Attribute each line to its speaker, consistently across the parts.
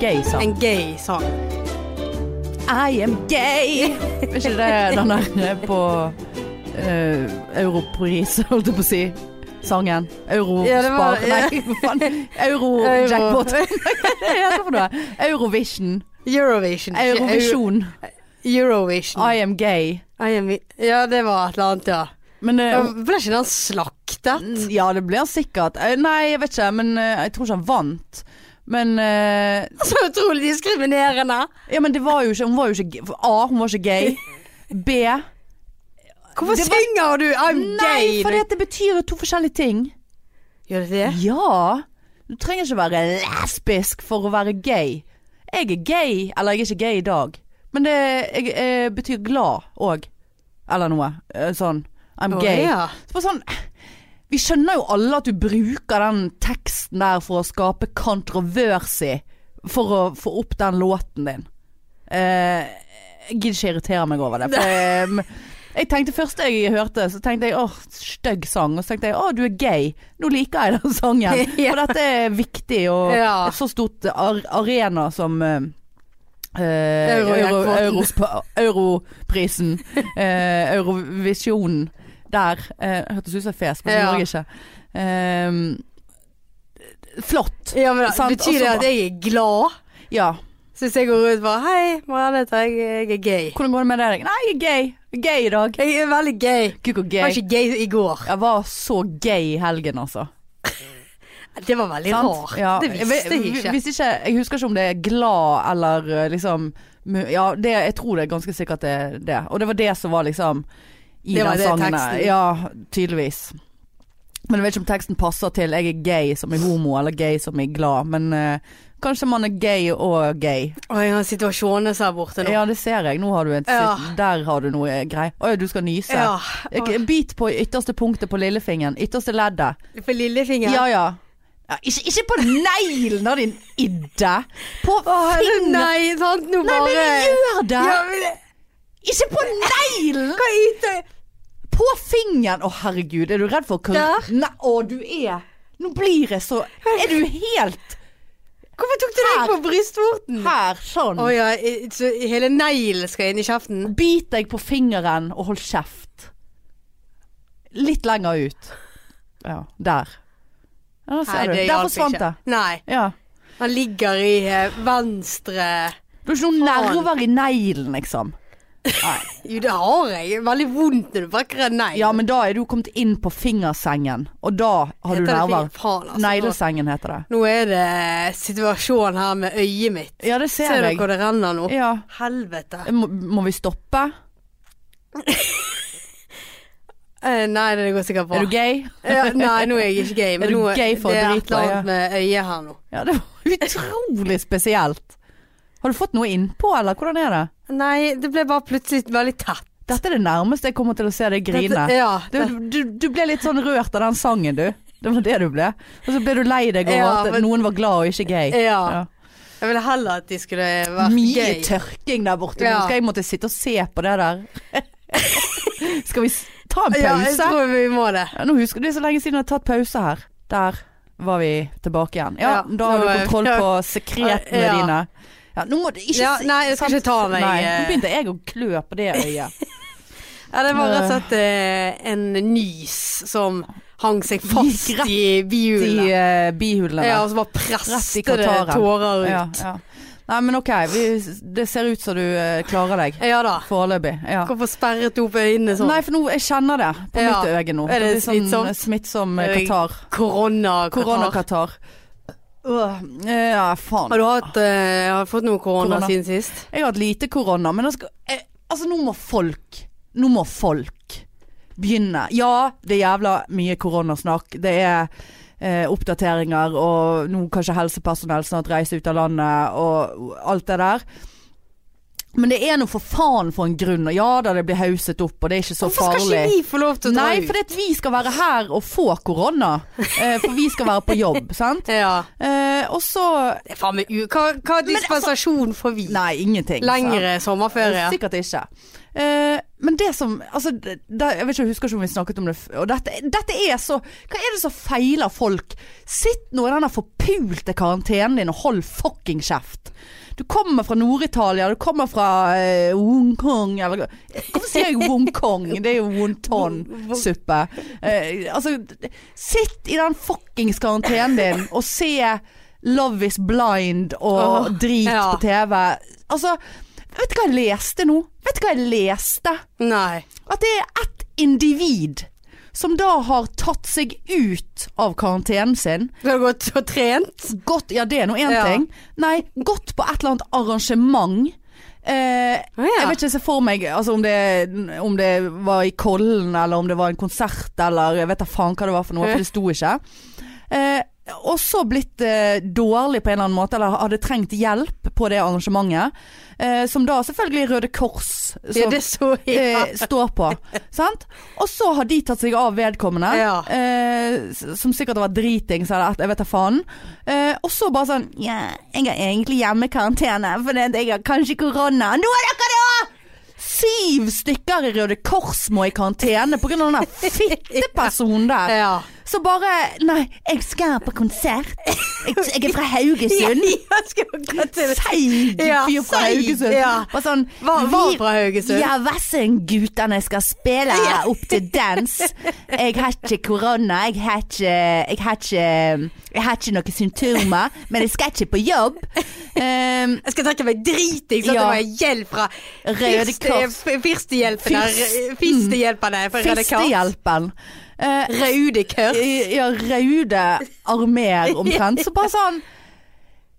Speaker 1: gay sang.
Speaker 2: En gay sang.
Speaker 1: I am gay! Er ikke det den der på eh, Europris, holdt jeg på å si? Sangen. Eurospar
Speaker 2: Ja, det var-
Speaker 1: Nei, hva faen. Euro-jackpot. Hva heter det for noe? Eurovision.
Speaker 2: Eurovision. ikke
Speaker 1: Eurovisjon.
Speaker 2: Euro- Eurovision.
Speaker 1: I am gay.
Speaker 2: I am- Ja, det var et eller annet, ja.
Speaker 1: Men eh,
Speaker 2: Ja, Ble ikke den slaktet?
Speaker 1: Ja, det blir han sikkert. Eh, Nei, jeg vet ikke, men eh, jeg tror ikke han vant. Men eh,
Speaker 2: Så utrolig diskriminerende.
Speaker 1: Ja, men det var jo ikke Hun var jo ikke g- A. Hun var ikke gay. B.
Speaker 2: Hvorfor
Speaker 1: Det var-
Speaker 2: synger du 'I'm
Speaker 1: Nei,
Speaker 2: gay'?
Speaker 1: for det betyr jo to forskjellige ting.
Speaker 2: Gjør det det?
Speaker 1: Ja. Du trenger ikke være lesbisk for å være gay. Jeg er gay, eller jeg er ikke gay i dag. Men det jeg, eh, betyr glad òg. Eller noe eh, sånn. I'm
Speaker 2: Å,
Speaker 1: gay.
Speaker 2: ja.
Speaker 1: Så bare sånn Vi skjønner jo alle at du bruker den teksten der for å skape kontroversi. For å få opp den låten din. Eh, jeg gidder ikke irritere meg over det. For jeg, jeg tenkte Først jeg hørte, så tenkte jeg åh, stygg sang. Og så tenkte jeg åh, du er gay. Nå liker jeg den sangen.
Speaker 2: Ja.
Speaker 1: For dette er viktig, og
Speaker 2: Ja.
Speaker 1: et så stort ar arena som eh, Eh,
Speaker 2: Euro-
Speaker 1: Euro,
Speaker 2: jackpoten.
Speaker 1: Eurospa- Europrisen. Eh, Eurovisjonen. Der. Eh, hørtes ut som jeg fes, men det
Speaker 2: Ja.
Speaker 1: gjorde jeg ikke. Ehm, flott.
Speaker 2: Ja, men da,
Speaker 1: Sant,
Speaker 2: Betyr
Speaker 1: og så
Speaker 2: det at
Speaker 1: bra.
Speaker 2: jeg er glad?
Speaker 1: Ja.
Speaker 2: Så hvis jeg går ut og bare 'Hei, Marianne heter jeg, jeg er gay'.
Speaker 1: Hvordan går det med deg? Nei, jeg er gay. Jeg er Gay i dag.
Speaker 2: Jeg er veldig gay.
Speaker 1: Gud, hvor
Speaker 2: Jeg var
Speaker 1: gay.
Speaker 2: ikke gay i går.
Speaker 1: Jeg var så gay i helgen, altså.
Speaker 2: Det var veldig
Speaker 1: Sant?
Speaker 2: rart.
Speaker 1: Ja.
Speaker 2: Det visste jeg ikke.
Speaker 1: Hvis ikke. Jeg husker ikke om det er glad eller eh, liksom mu- Ja, det, jeg tror det er ganske sikkert det er det. Og det var det som var liksom i
Speaker 2: Det var
Speaker 1: den
Speaker 2: det
Speaker 1: sangen. der.
Speaker 2: teksten.
Speaker 1: Ja, tydeligvis. Men jeg vet ikke om teksten passer til 'jeg er gay som er homo' eller 'gay som er glad'. Men eh, kanskje man er gay og gay.
Speaker 2: Å, jeg har situasjoner her borte nå.
Speaker 1: Ja, det ser jeg. Nå har du et,
Speaker 2: Ja.
Speaker 1: Der har du noe eh, grei. Å ja, du skal nyse.
Speaker 2: Ja.
Speaker 1: Jeg- Bit på ytterste punktet på lillefingeren. Ytterste leddet.
Speaker 2: For lillefingeren.
Speaker 1: Ja, ja. ja ikke, ikke på neglen av din idde. På
Speaker 2: Åh, er det-
Speaker 1: fingeren.
Speaker 2: nei, sant, nå
Speaker 1: Nei,
Speaker 2: bare
Speaker 1: men gjør det!
Speaker 2: Ja, men det-
Speaker 1: Ikke på neglen!
Speaker 2: Hva yter
Speaker 1: På fingeren! Å, herregud, er du redd for kor-
Speaker 2: Der.
Speaker 1: Nei, å, du er Nå blir jeg så Er du helt
Speaker 2: Hvorfor tok du deg
Speaker 1: Her.
Speaker 2: på brystvorten?
Speaker 1: her sånn?
Speaker 2: Å ja, i- så hele neglen skal inn i kjeften?
Speaker 1: Bit deg på fingeren og hold kjeft. Litt lenger ut. Ja, der. Ja, ser du.
Speaker 2: det
Speaker 1: Der
Speaker 2: hjalp
Speaker 1: forsvant det.
Speaker 2: ikke. Nei.
Speaker 1: Ja.
Speaker 2: Han ligger i eh, venstre
Speaker 1: Du har ikke noen
Speaker 2: Faen.
Speaker 1: nerver i neglen, liksom.
Speaker 2: Jo, det har jeg. Veldig vondt når du brekker en negl.
Speaker 1: Ja, men da er du kommet inn på fingersengen, og da har du
Speaker 2: Heter det
Speaker 1: nerver.
Speaker 2: fing- Faen, altså.
Speaker 1: Neglesengen heter det.
Speaker 2: Nå er det situasjonen her med øyet mitt.
Speaker 1: Ja, det
Speaker 2: Ser
Speaker 1: ser
Speaker 2: dere
Speaker 1: jeg.
Speaker 2: hvor det renner nå?
Speaker 1: Ja.
Speaker 2: Helvete.
Speaker 1: Må, må vi stoppe?
Speaker 2: Eh, nei, det går sikkert bra.
Speaker 1: Er du gay?
Speaker 2: Ja, nei, nå er jeg ikke gay. Men
Speaker 1: Er du
Speaker 2: nå,
Speaker 1: gay for
Speaker 2: det er
Speaker 1: å
Speaker 2: et
Speaker 1: drite
Speaker 2: eller
Speaker 1: deg,
Speaker 2: annet med øyet her nå.
Speaker 1: Ja, det var utrolig spesielt. Har du fått noe innpå, eller hvordan er det?
Speaker 2: Nei, det ble bare plutselig veldig tett.
Speaker 1: Dette er det nærmeste jeg kommer til å se deg grine.
Speaker 2: Dette- ja,
Speaker 1: Du, du, du ble litt sånn rørt av den sangen, du. Det var det du ble. Og så ble du lei deg over
Speaker 2: Ja,
Speaker 1: at
Speaker 2: men-
Speaker 1: noen var glad og ikke gay.
Speaker 2: Ja.
Speaker 1: Ja.
Speaker 2: Jeg ville heller at de skulle vært
Speaker 1: Mye
Speaker 2: gay.
Speaker 1: tørking der borte.
Speaker 2: Ja.
Speaker 1: Nå skal jeg måtte sitte og se på det der. skal vi s- ta en
Speaker 2: Ja, jeg
Speaker 1: pause? Ja,
Speaker 2: tror vi må det.
Speaker 1: nå husker du det er så lenge siden jeg har tatt pause her. Der var vi tilbake igjen. Ja,
Speaker 2: Ja,
Speaker 1: da har
Speaker 2: nå
Speaker 1: du
Speaker 2: er-
Speaker 1: kontroll på sekretene
Speaker 2: Ja.
Speaker 1: dine. Ja, nå må du ikke
Speaker 2: Ja,
Speaker 1: si-
Speaker 2: nei, jeg skal
Speaker 1: sant?
Speaker 2: ikke ta meg,
Speaker 1: Nei,
Speaker 2: eh.
Speaker 1: Nå begynte jeg å klø på det øyet.
Speaker 2: Ja, det var rett og slett eh, en nys som hang seg
Speaker 1: Gikk
Speaker 2: fast
Speaker 1: rett
Speaker 2: i
Speaker 1: De
Speaker 2: bihulene.
Speaker 1: eh, bihulene.
Speaker 2: Ja, og så bare
Speaker 1: Rett i
Speaker 2: presste det
Speaker 1: kataren.
Speaker 2: tårer
Speaker 1: Ja,
Speaker 2: ut.
Speaker 1: ja. Nei, men ok. Vi, det ser ut som du eh, klarer deg.
Speaker 2: Ja da.
Speaker 1: Foreløpig. Ja.
Speaker 2: Hvorfor sperret du opp øynene sånn?
Speaker 1: Nei, for nå, jeg kjenner det på
Speaker 2: Ja.
Speaker 1: mitt øye nå.
Speaker 2: Er det
Speaker 1: blir sånn
Speaker 2: smittsomt?
Speaker 1: Smittsom eh,
Speaker 2: Er det-
Speaker 1: Qatar.
Speaker 2: Korona, Korona.
Speaker 1: Koronakatar. Øh, ja, faen.
Speaker 2: Har du hatt, eh, har du fått noe korona,
Speaker 1: Korona.
Speaker 2: siden sist?
Speaker 1: Jeg har hatt lite korona, men jeg skal, jeg, altså nå må folk Nå må folk begynne. Ja, det er jævla mye koronasnakk. Det er eh, oppdateringer og nå kanskje helsepersonell snart reiser ut av landet og alt det der. Men det er nå for faen for en grunn. Og ja da, det blir hauset opp, og det er ikke så
Speaker 2: Hvorfor
Speaker 1: farlig.
Speaker 2: skal ikke vi få lov til å dra
Speaker 1: Nei,
Speaker 2: ut?
Speaker 1: for det at vi skal være her og få korona. Eh, for vi skal være på jobb, sant?
Speaker 2: Ja.
Speaker 1: Eh, og så
Speaker 2: Det er faen meg u... Hva, hva
Speaker 1: altså-
Speaker 2: dispensasjon får vi?
Speaker 1: Nei, ingenting. sant?
Speaker 2: Lengre sommerferie?
Speaker 1: Sikkert ikke. Eh, men det som altså, det, det, Jeg vet ikke, jeg husker ikke om vi snakket om det f- og dette, dette er så Hva er det som feiler folk? Sitt nå i denne forpulte karantenen din og hold fucking kjeft. Du kommer fra Nord-Italia, du kommer fra eh, Hongkong eller Hvorfor sier jeg Hongkong? Det er jo wonton-suppe. Eh, altså, d- sitt i den fuckings karantenen din og se Love is blind og
Speaker 2: Åh,
Speaker 1: drit
Speaker 2: ja.
Speaker 1: på TV. Altså, vet du hva jeg leste nå? Vet du hva jeg leste?
Speaker 2: Nei.
Speaker 1: At det er ett individ som da har tatt seg ut av karantenen sin.
Speaker 2: Du har gått og trent?
Speaker 1: Gått, ja det er nå én
Speaker 2: Ja.
Speaker 1: ting. Nei, gått på et eller annet arrangement. Eh,
Speaker 2: Å, ja.
Speaker 1: Jeg vet ikke, jeg ser for meg altså, om, det, om det var i Kollen, eller om det var en konsert, eller jeg vet da faen hva det var for noe, for det sto ikke. Eh, og så blitt eh, dårlig på en eller annen måte, eller hadde trengt hjelp på det arrangementet. Eh, som da selvfølgelig Røde Kors som,
Speaker 2: Ja, det så jeg.
Speaker 1: eh, står på. Sant? Og så har de tatt seg av vedkommende,
Speaker 2: Ja.
Speaker 1: eh, s- som sikkert har vært dritings eller et, jeg vet da faen. Eh, og så bare sånn Ja, jeg er egentlig hjemme i karantene, for det- jeg har kanskje korona. Nå er dere det òg! Syv stykker i Røde Kors må i karantene pga. den der fittepersonen der.
Speaker 2: Ja.
Speaker 1: Så bare Nei, jeg skal på konsert. Jeg, jeg er fra Haugesund.
Speaker 2: Jeg skal gå til
Speaker 1: Seig
Speaker 2: Ja,
Speaker 1: fyr fra
Speaker 2: seig,
Speaker 1: Haugesund.
Speaker 2: ja.
Speaker 1: Bare sånn
Speaker 2: Var, var
Speaker 1: vi-
Speaker 2: fra Haugesund.
Speaker 1: ja, Vassendgutane skal spille
Speaker 2: Ja.
Speaker 1: opp til dans. Jeg har ikke korona, jeg har ikke, jeg har ikke, jeg har ikke noen symptomer, men jeg skal ikke på jobb. Um,
Speaker 2: Jeg skal trekke meg driting, sånn at
Speaker 1: Ja.
Speaker 2: det var hjelp fra
Speaker 1: Røde
Speaker 2: Fyrste-
Speaker 1: Kors.
Speaker 2: f- Fyrstehjelpen der.
Speaker 1: Fyrst-
Speaker 2: Fyrstehjelpen der fra Røde Kors.
Speaker 1: Fyrstehjelpen. Eh,
Speaker 2: Røde Kors.
Speaker 1: i- ja, røde armeer omtrent. Så bare sånn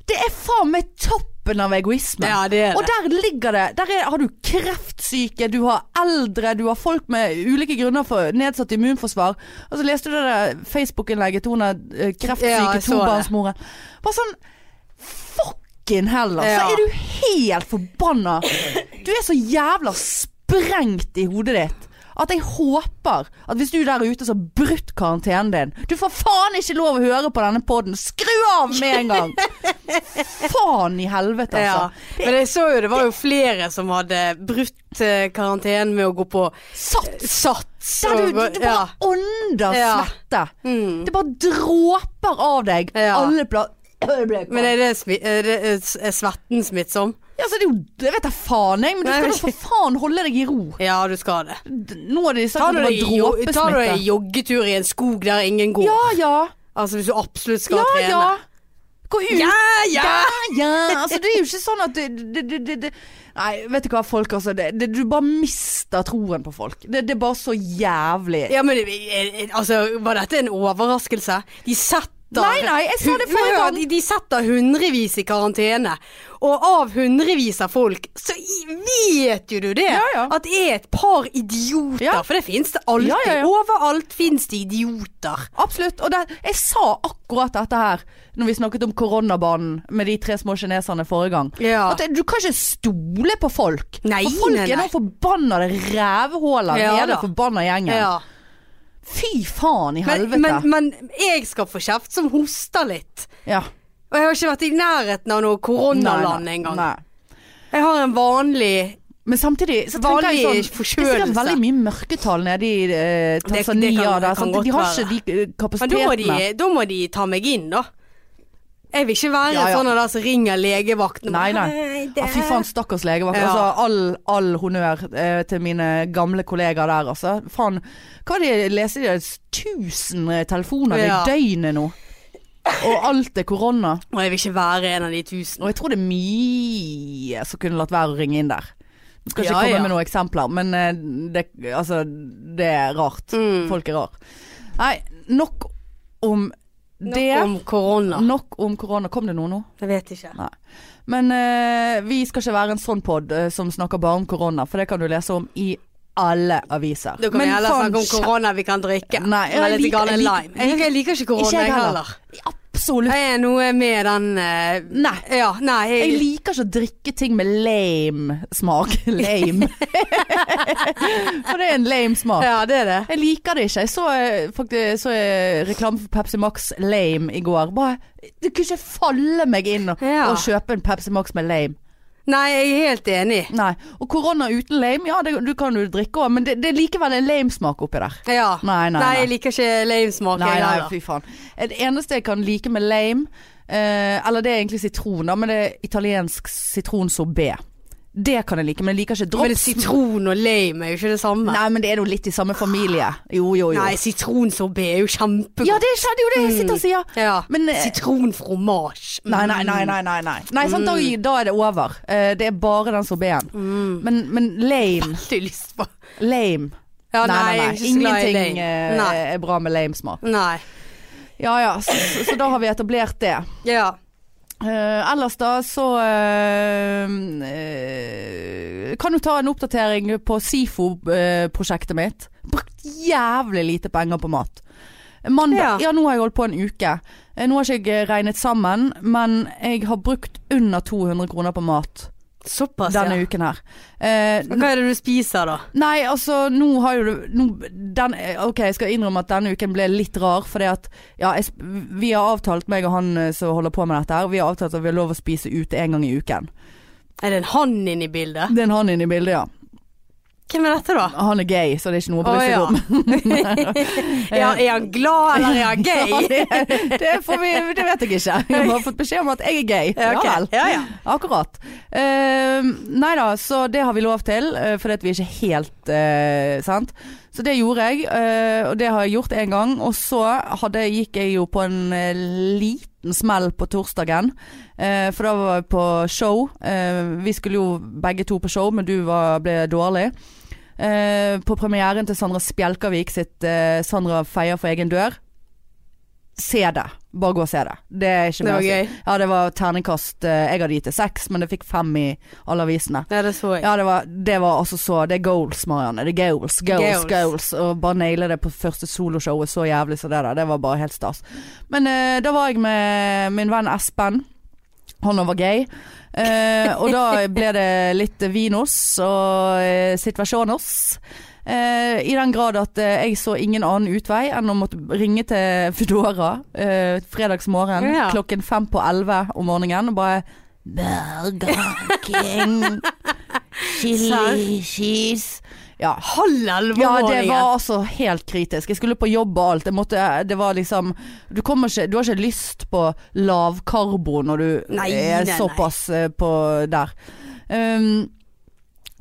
Speaker 1: Det er faen meg toppen av egoisme.
Speaker 2: Ja, det er
Speaker 1: Og
Speaker 2: det.
Speaker 1: der ligger det. Der er, har du kreftsyke, du har eldre, du har folk med ulike grunner for nedsatt immunforsvar. Og så leste du det der Facebook-innlegget til hun der, eh,
Speaker 2: Ja,
Speaker 1: kreftsyke
Speaker 2: jeg så det.
Speaker 1: tobarnsmoren. Bare sånn Fucking hell, altså.
Speaker 2: Ja.
Speaker 1: Er du helt forbanna? Du er så jævla sprengt i hodet ditt. At jeg håper at hvis du der ute som har brutt karantenen din Du får faen ikke lov å høre på denne poden! Skru av med en gang! faen i helvete,
Speaker 2: Ja.
Speaker 1: altså.
Speaker 2: Men jeg så jo det var jo flere som hadde brutt eh, karantenen med å gå på
Speaker 1: Sats!
Speaker 2: Eh, sats.
Speaker 1: Der du,
Speaker 2: og
Speaker 1: du bare
Speaker 2: gå- ja.
Speaker 1: ånder
Speaker 2: Ja.
Speaker 1: svette.
Speaker 2: Mm.
Speaker 1: Det bare dråper av deg.
Speaker 2: Ja.
Speaker 1: Alle pla...
Speaker 2: Men
Speaker 1: Men
Speaker 2: er, det smi er, det, eh, er svetten smittsom?
Speaker 1: ja, så det er jo, jeg vet da faen, jeg. Men du
Speaker 2: Nei,
Speaker 1: skal
Speaker 2: jeg
Speaker 1: da
Speaker 2: vet
Speaker 1: for faen holde deg i ro.
Speaker 2: Ja, du skal det.
Speaker 1: D- Nå har de sagt
Speaker 2: Tar
Speaker 1: at
Speaker 2: du
Speaker 1: det var
Speaker 2: deg jo- tar du
Speaker 1: dråpesmitte.
Speaker 2: deg joggetur i en skog der ingen går?
Speaker 1: Ja ja.
Speaker 2: Altså hvis du absolutt skal
Speaker 1: Ja
Speaker 2: trene?
Speaker 1: ja. Gå ut.
Speaker 2: Ja, ja!
Speaker 1: ja. Altså, det er jo ikke sånn at det, det, det, det, det. Nei, vet du hva folk, altså. Det, det, du bare mister troen på folk. Det, det er bare så jævlig.
Speaker 2: Ja, men eh, eh, altså, var dette en overraskelse? De setter
Speaker 1: Nei, nei, jeg sa det
Speaker 2: Hu-
Speaker 1: forrige
Speaker 2: hør,
Speaker 1: gang.
Speaker 2: De, de setter hundrevis i karantene. Og av hundrevis av folk, så i- vet jo du det!
Speaker 1: Ja, ja.
Speaker 2: At det er et par idioter.
Speaker 1: Ja.
Speaker 2: For det fins det alltid.
Speaker 1: Ja, ja, ja.
Speaker 2: Overalt fins det idioter.
Speaker 1: Absolutt. Og det, jeg sa akkurat dette her når vi snakket om koronabanen med de tre små kineserne forrige gang.
Speaker 2: Ja.
Speaker 1: At du kan ikke stole på folk.
Speaker 2: Nei,
Speaker 1: For folk
Speaker 2: nei,
Speaker 1: er
Speaker 2: nei.
Speaker 1: noen forbannede rævhåler
Speaker 2: Ja,
Speaker 1: hele
Speaker 2: da.
Speaker 1: forbanna gjengen.
Speaker 2: Ja.
Speaker 1: Fy faen i
Speaker 2: Men,
Speaker 1: helvete.
Speaker 2: men, men jeg skal få kjeft som hoster litt.
Speaker 1: ja.
Speaker 2: Og jeg har ikke vært i nærheten av noe koronaland
Speaker 1: Nei, nei,
Speaker 2: engang.
Speaker 1: nei.
Speaker 2: Jeg har en vanlig
Speaker 1: Men samtidig så tenker
Speaker 2: Vanlig
Speaker 1: jeg sånn Det er sikkert
Speaker 2: forkjølelse.
Speaker 1: veldig mye mørketall nede i eh,
Speaker 2: det kan-
Speaker 1: Tanzania. der,
Speaker 2: kan
Speaker 1: sant?
Speaker 2: godt
Speaker 1: de har
Speaker 2: være.
Speaker 1: ikke de eh,
Speaker 2: Men da må,
Speaker 1: kapasitetene.
Speaker 2: de, da må de ta meg inn, da. Jeg vil ikke være
Speaker 1: Ja, ja.
Speaker 2: sånn av der som ringer legevakten. og
Speaker 1: Nei,
Speaker 2: bare,
Speaker 1: nei.
Speaker 2: det
Speaker 1: Ja, fy faen, stakkars legevakt.
Speaker 2: Ja.
Speaker 1: Altså, all, all honnør eh, til mine gamle kollegaer der, altså. Faen, hva er det, leser de 1000 telefoner
Speaker 2: Ja.
Speaker 1: i døgnet nå? Og alt er korona.
Speaker 2: Og jeg vil ikke være en av de tusen.
Speaker 1: Og jeg tror det er mye som kunne latt være å ringe inn der. Nå skal ikke
Speaker 2: Ja,
Speaker 1: komme
Speaker 2: ja.
Speaker 1: med noen eksempler, men eh, det, altså, det er rart.
Speaker 2: Mm.
Speaker 1: Folk er rar. Nei, nok om det. Mm.
Speaker 2: Nok om korona.
Speaker 1: Nok om korona. Kom det noe nå?
Speaker 2: Jeg vet ikke.
Speaker 1: Nei. Men eh, vi skal ikke være en sånn pod eh, som snakker bare om korona, for det kan du lese om i alle aviser.
Speaker 2: Da kan vi heller
Speaker 1: faen,
Speaker 2: snakke om
Speaker 1: kjæ-
Speaker 2: korona vi kan drikke.
Speaker 1: Nei, jeg
Speaker 2: Med litt
Speaker 1: liker-
Speaker 2: grann
Speaker 1: jeg liker-
Speaker 2: lime. Jeg, jeg liker ikke
Speaker 1: Ikke
Speaker 2: korona,
Speaker 1: jeg
Speaker 2: jeg
Speaker 1: heller.
Speaker 2: heller.
Speaker 1: Absolutt.
Speaker 2: Jeg er noe med den eh,
Speaker 1: Nei.
Speaker 2: Ja, nei. Jeg,
Speaker 1: Jeg liker ikke å drikke ting med lame smak. Lame. For det er en lame smak.
Speaker 2: ja, det er det.
Speaker 1: Jeg liker det ikke. Jeg så, eh, faktisk, så eh, reklame for Pepsi Max Lame i går. Bare, det kunne ikke falle meg inn å
Speaker 2: Ja.
Speaker 1: å kjøpe en Pepsi Max med lame.
Speaker 2: Nei, jeg er helt enig.
Speaker 1: Nei. Og korona uten lame, ja det, du kan jo drikke òg, men det, det er likevel en lame smak oppi der.
Speaker 2: Ja.
Speaker 1: Nei, nei, nei.
Speaker 2: jeg liker ikke lame smak.
Speaker 1: Nei,
Speaker 2: jeg
Speaker 1: nei,
Speaker 2: heller.
Speaker 1: fy faen. Det eneste jeg kan like med lame, eh, eller det er egentlig sitron, da, men det er italiensk sitronsorbé. Det kan jeg like, men jeg liker ikke drops.
Speaker 2: Men sitron og lame er jo ikke det samme.
Speaker 1: Nei, men det er jo litt i samme familie. Jo, jo, jo.
Speaker 2: Nei, sitronsorbé er jo kjempegodt.
Speaker 1: ja, det skjedde jo det jeg sitter og sier.
Speaker 2: Ja.
Speaker 1: Mm. Men, eh,
Speaker 2: Sitronfromasj. Mm.
Speaker 1: Nei, nei, nei, nei, nei. Nei, nei sant, da, da er det over. Eh, det er bare den sorbeen.
Speaker 2: Mm.
Speaker 1: Men, men lame,
Speaker 2: Veldig lyst på.
Speaker 1: lame.
Speaker 2: Ja, nei, jeg er ikke så glad i
Speaker 1: Ingenting
Speaker 2: lame.
Speaker 1: eh,
Speaker 2: Nei.
Speaker 1: er bra med lame-smak.
Speaker 2: Nei.
Speaker 1: Ja ja, så, så, så da har vi etablert det.
Speaker 2: Ja.
Speaker 1: Eh, ellers da så eh, eh, kan du ta en oppdatering på SIFO-prosjektet mitt. Brukt jævlig lite penger på mat. Mandag, ja.
Speaker 2: Ja.
Speaker 1: nå har jeg holdt på en uke. Eh, Nå har ikke jeg regnet sammen, men jeg har brukt under 200 kroner på mat
Speaker 2: Såpass,
Speaker 1: denne
Speaker 2: ja.
Speaker 1: uken her. Eh,
Speaker 2: Hva er det du spiser, da?
Speaker 1: Nei, altså nå har jo det nå, den, Ok, jeg skal innrømme at denne uken ble litt rar. Fordi at ja, jeg, sp- vi har avtalt, meg og han eh, som holder på med dette her, vi har avtalt at vi har lov å spise ute en gang i uken.
Speaker 2: Er det en hann inne i bildet?
Speaker 1: Det er en han inne i bildet, ja.
Speaker 2: Hvem er dette, da?
Speaker 1: Han er gay, så det er ikke noe å
Speaker 2: Å
Speaker 1: bry seg
Speaker 2: ja.
Speaker 1: om.
Speaker 2: ja. Er han glad, eller er han gay?
Speaker 1: Det, det, får vi, det vet jeg ikke. Jeg har bare fått beskjed om at jeg er gay.
Speaker 2: Ja, ok.
Speaker 1: Ja vel.
Speaker 2: ja, ja.
Speaker 1: Akkurat. Uh, nei da, så det har vi lov til, eh, fordi at vi er ikke helt eh, sant. Så det gjorde jeg, eh, og det har jeg gjort én gang. Og så hadde, gikk jeg jo på en eh, liten smell på torsdagen, eh, for da var jeg på show. Eh, vi skulle jo begge to på show, men du var, ble dårlig. Eh, på premieren til Sandra Spjelkavik sitt eh, 'Sandra feier for egen dør'. Se det. Bare gå og se det. Det er ikke
Speaker 2: Det
Speaker 1: mer å
Speaker 2: var
Speaker 1: si.
Speaker 2: gøy.
Speaker 1: Ja, det var terningkast eh, Jeg hadde gitt det seks, men det fikk fem i alle avisene.
Speaker 2: Ja, det så jeg.
Speaker 1: Ja, det var, det var altså så Det er goals, Marianne. Det er goals, goals,
Speaker 2: Goals.
Speaker 1: goals. Og bare naile det på første soloshowet så jævlig som det der. Det var bare helt stas. Men eh, da var jeg med min venn Espen. Han var gay. Eh, og da ble det litt vinos og eh, situasjonos. Eh, I den grad at eh, jeg så ingen annen utvei enn å måtte ringe til Foodora eh, fredagsmorgen
Speaker 2: Ja.
Speaker 1: klokken fem på elleve om morgenen og bare Burger King, chili cheese Ja.
Speaker 2: Halv elleve
Speaker 1: Ja, det var altså helt kritisk. Jeg skulle på jobb og alt. Jeg måtte, det var liksom Du, kommer ikke, du har ikke lyst på lavkarbo når du
Speaker 2: Nei,
Speaker 1: er
Speaker 2: nei, nei.
Speaker 1: såpass eh, på der. Um,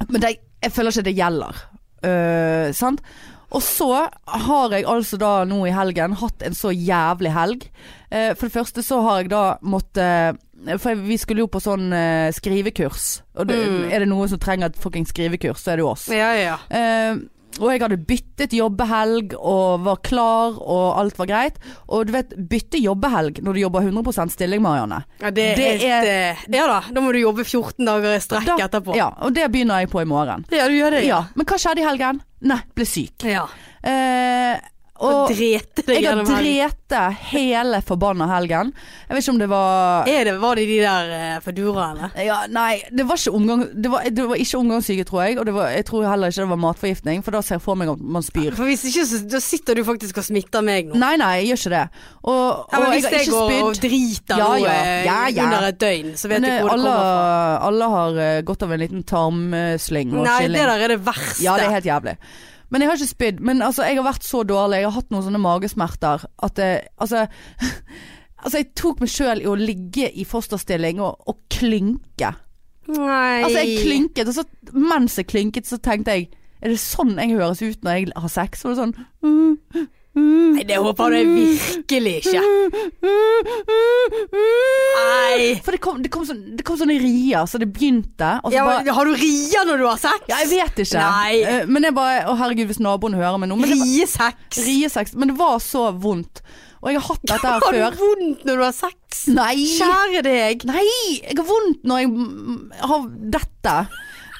Speaker 1: men det, jeg føler ikke det gjelder. Eh, sant? Og så har jeg altså da nå i helgen hatt en så jævlig helg. Eh, for det første så har jeg da måttet For vi skulle jo på sånn eh, skrivekurs. Og det,
Speaker 2: Mm.
Speaker 1: er det noen som trenger et fuckings skrivekurs, så er det jo oss.
Speaker 2: Ja, ja.
Speaker 1: Eh, og jeg hadde byttet jobbehelg og var klar og alt var greit. Og du vet, bytte jobbehelg når du jobber 100 stilling, Marianne.
Speaker 2: ja det er
Speaker 1: Det
Speaker 2: helt eh, Ja da, da må du jobbe 14 dager i strekk
Speaker 1: Da-
Speaker 2: etterpå.
Speaker 1: Ja, og det begynner jeg på i morgen.
Speaker 2: Ja, du gjør det.
Speaker 1: Ja, Men hva skjedde i helgen? Nei, ble syk.
Speaker 2: ja.
Speaker 1: Eh,
Speaker 2: Og
Speaker 1: og
Speaker 2: drete deg
Speaker 1: jeg har
Speaker 2: gjennom helgen.
Speaker 1: drete hele forbanna helgen. Jeg vet ikke om det var
Speaker 2: Er det, var det de der eh, Foodora, eller?
Speaker 1: ja, Nei, det var ikke omgang Det var, det var ikke omgangssyke, tror jeg. Og det var, jeg tror heller ikke det var matforgiftning, for da ser jeg for meg at man spyr.
Speaker 2: For hvis ikke, så da sitter du faktisk og smitter meg nå.
Speaker 1: Nei, nei, jeg gjør ikke det. Og, og
Speaker 2: Ja, men
Speaker 1: jeg
Speaker 2: hvis
Speaker 1: har
Speaker 2: jeg
Speaker 1: ikke
Speaker 2: går
Speaker 1: spydd.
Speaker 2: og driter
Speaker 1: Ja, ja.
Speaker 2: nå eh,
Speaker 1: Ja, ja.
Speaker 2: under et døgn, så vet
Speaker 1: Men
Speaker 2: du
Speaker 1: eh,
Speaker 2: hvor det
Speaker 1: alle,
Speaker 2: kommer fra.
Speaker 1: alle har eh, godt av en liten tarmslyng og
Speaker 2: Nei,
Speaker 1: chilling.
Speaker 2: det der er det verste.
Speaker 1: Ja, det er helt jævlig. Men jeg har ikke spydd. Men altså, jeg har vært så dårlig. Jeg har hatt noen sånne magesmerter at det, altså, altså, jeg tok meg sjøl i å ligge i fosterstilling og, og klynke.
Speaker 2: Nei.
Speaker 1: Altså, jeg klynket, og så mens jeg klynket, så tenkte jeg Er det sånn jeg høres ut når jeg har sex? Og det er sånn
Speaker 2: Nei, det håper jeg virkelig ikke. Nei.
Speaker 1: For det kom, det kom, sånn, det kom sånne rier, så det begynte. Og så
Speaker 2: Ja,
Speaker 1: bare
Speaker 2: men har du rier når du har sex?
Speaker 1: Altså, Ja, jeg vet ikke.
Speaker 2: Nei.
Speaker 1: Eh, Men jeg bare Å herregud, hvis naboen hører meg nå. Men det var,
Speaker 2: Riesex.
Speaker 1: riesex. Men det var så vondt. Og jeg har hatt dette her
Speaker 2: Har du
Speaker 1: før.
Speaker 2: vondt når du har sex?
Speaker 1: Nei!
Speaker 2: Kjære deg.
Speaker 1: Nei! Jeg har vondt når jeg mm, har dette.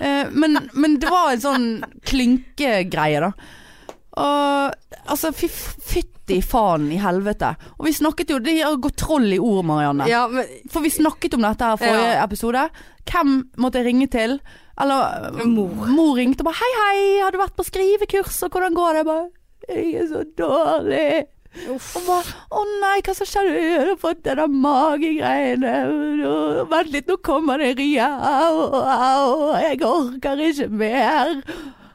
Speaker 1: Eh, Men, men det var en sånn klynkegreie, da. Og altså, fy f- fytti faen i helvete. Og vi snakket jo Det har gått troll i ord, Marianne.
Speaker 2: Ja, men
Speaker 1: For vi snakket om dette her forrige episode. Hvem måtte jeg ringe til? Eller eh,
Speaker 2: Mor.
Speaker 1: mor ringte og bare 'Hei, hei, har du vært på skrivekurs, og hvordan går det?' Jeg bare 'Jeg er så dårlig'.
Speaker 2: Uff.
Speaker 1: Og bare Å nei, hva som skjedde? Jeg har fått denne magegreiene. Nå- Vent litt, nå kommer det en rie. Au, au. Jeg orker ikke mer.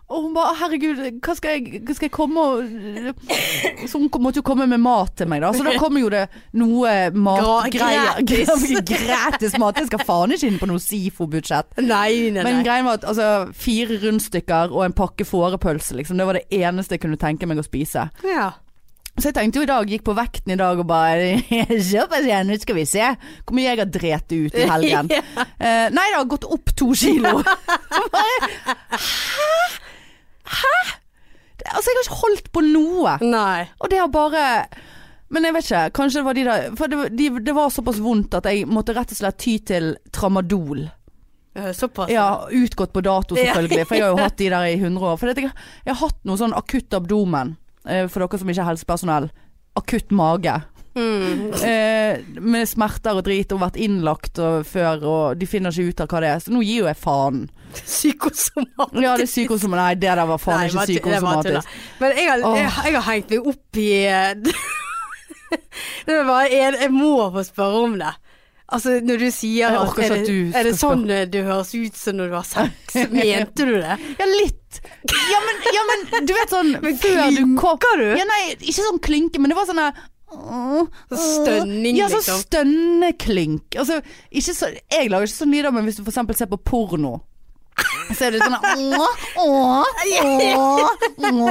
Speaker 1: Og hun bare Herregud, hva skal jeg, hva skal jeg komme og Så hun måtte jo komme med mat til meg, da. Så da kommer jo det noe matgreier.
Speaker 2: gratis.
Speaker 1: Gratis mat. Jeg skal faen ikke inn på noe SIFO-budsjett.
Speaker 2: Nei, nei,
Speaker 1: Men
Speaker 2: nei.
Speaker 1: greien var at altså, fire rundstykker og en pakke fårepølse, liksom. Det var det eneste jeg kunne tenke meg å spise.
Speaker 2: Ja.
Speaker 1: Så jeg tenkte jo i dag, gikk på vekten i dag og bare Såpass igjen, nå skal vi se hvor mye jeg har drept ut i helgen.
Speaker 2: Ja.
Speaker 1: Eh, nei, det har gått opp to kilo. Bare, Hæ? Hæ? Det- Altså, jeg har ikke holdt på noe.
Speaker 2: Nei.
Speaker 1: Og det har bare Men jeg vet ikke, kanskje det var de der For det, var- de, det var såpass vondt at jeg måtte rett og slett ty til tramadol.
Speaker 2: Eh, Såpass.
Speaker 1: Ja, utgått på dato selvfølgelig, for jeg har jo hatt de der i 100 år. For jeg, jeg har hatt noe sånn akutt abdomen, eh, for dere som ikke er helsepersonell. Akutt mage.
Speaker 2: Mm.
Speaker 1: Eh, med smerter og drit, og vært innlagt og, før, og de finner ikke ut av hva det er. Så nå gir jo jeg faen.
Speaker 2: Psykosomatisk.
Speaker 1: Ja, det er psykosomatisk. Nei, det der var faen ikke
Speaker 2: Nei, det var- det var tull, da.
Speaker 1: psykosomatisk.
Speaker 2: Men jeg har, jeg, jeg har hengt meg opp i eh, Det er bare en Jeg må få spørre om det. Altså, når du sier
Speaker 1: Jeg orker ikke at
Speaker 2: er det,
Speaker 1: du
Speaker 2: er det
Speaker 1: skal
Speaker 2: sånn eh, du høres ut som når du har sex? Mente du det?
Speaker 1: Ja, litt. Ja, men, ja, men du vet sånn
Speaker 2: Men
Speaker 1: før du kom
Speaker 2: klynker du?
Speaker 1: Ja, nei, ikke sånn klynke, men det var sånn der åh,
Speaker 2: Sånn
Speaker 1: åh.
Speaker 2: stønning,
Speaker 1: Ja, sånn
Speaker 2: liksom.
Speaker 1: stønneklynk. Altså, ikke så, jeg lager ikke sånn lyder, men hvis du for eksempel ser på porno så er det sånn der, åh, åh, åh,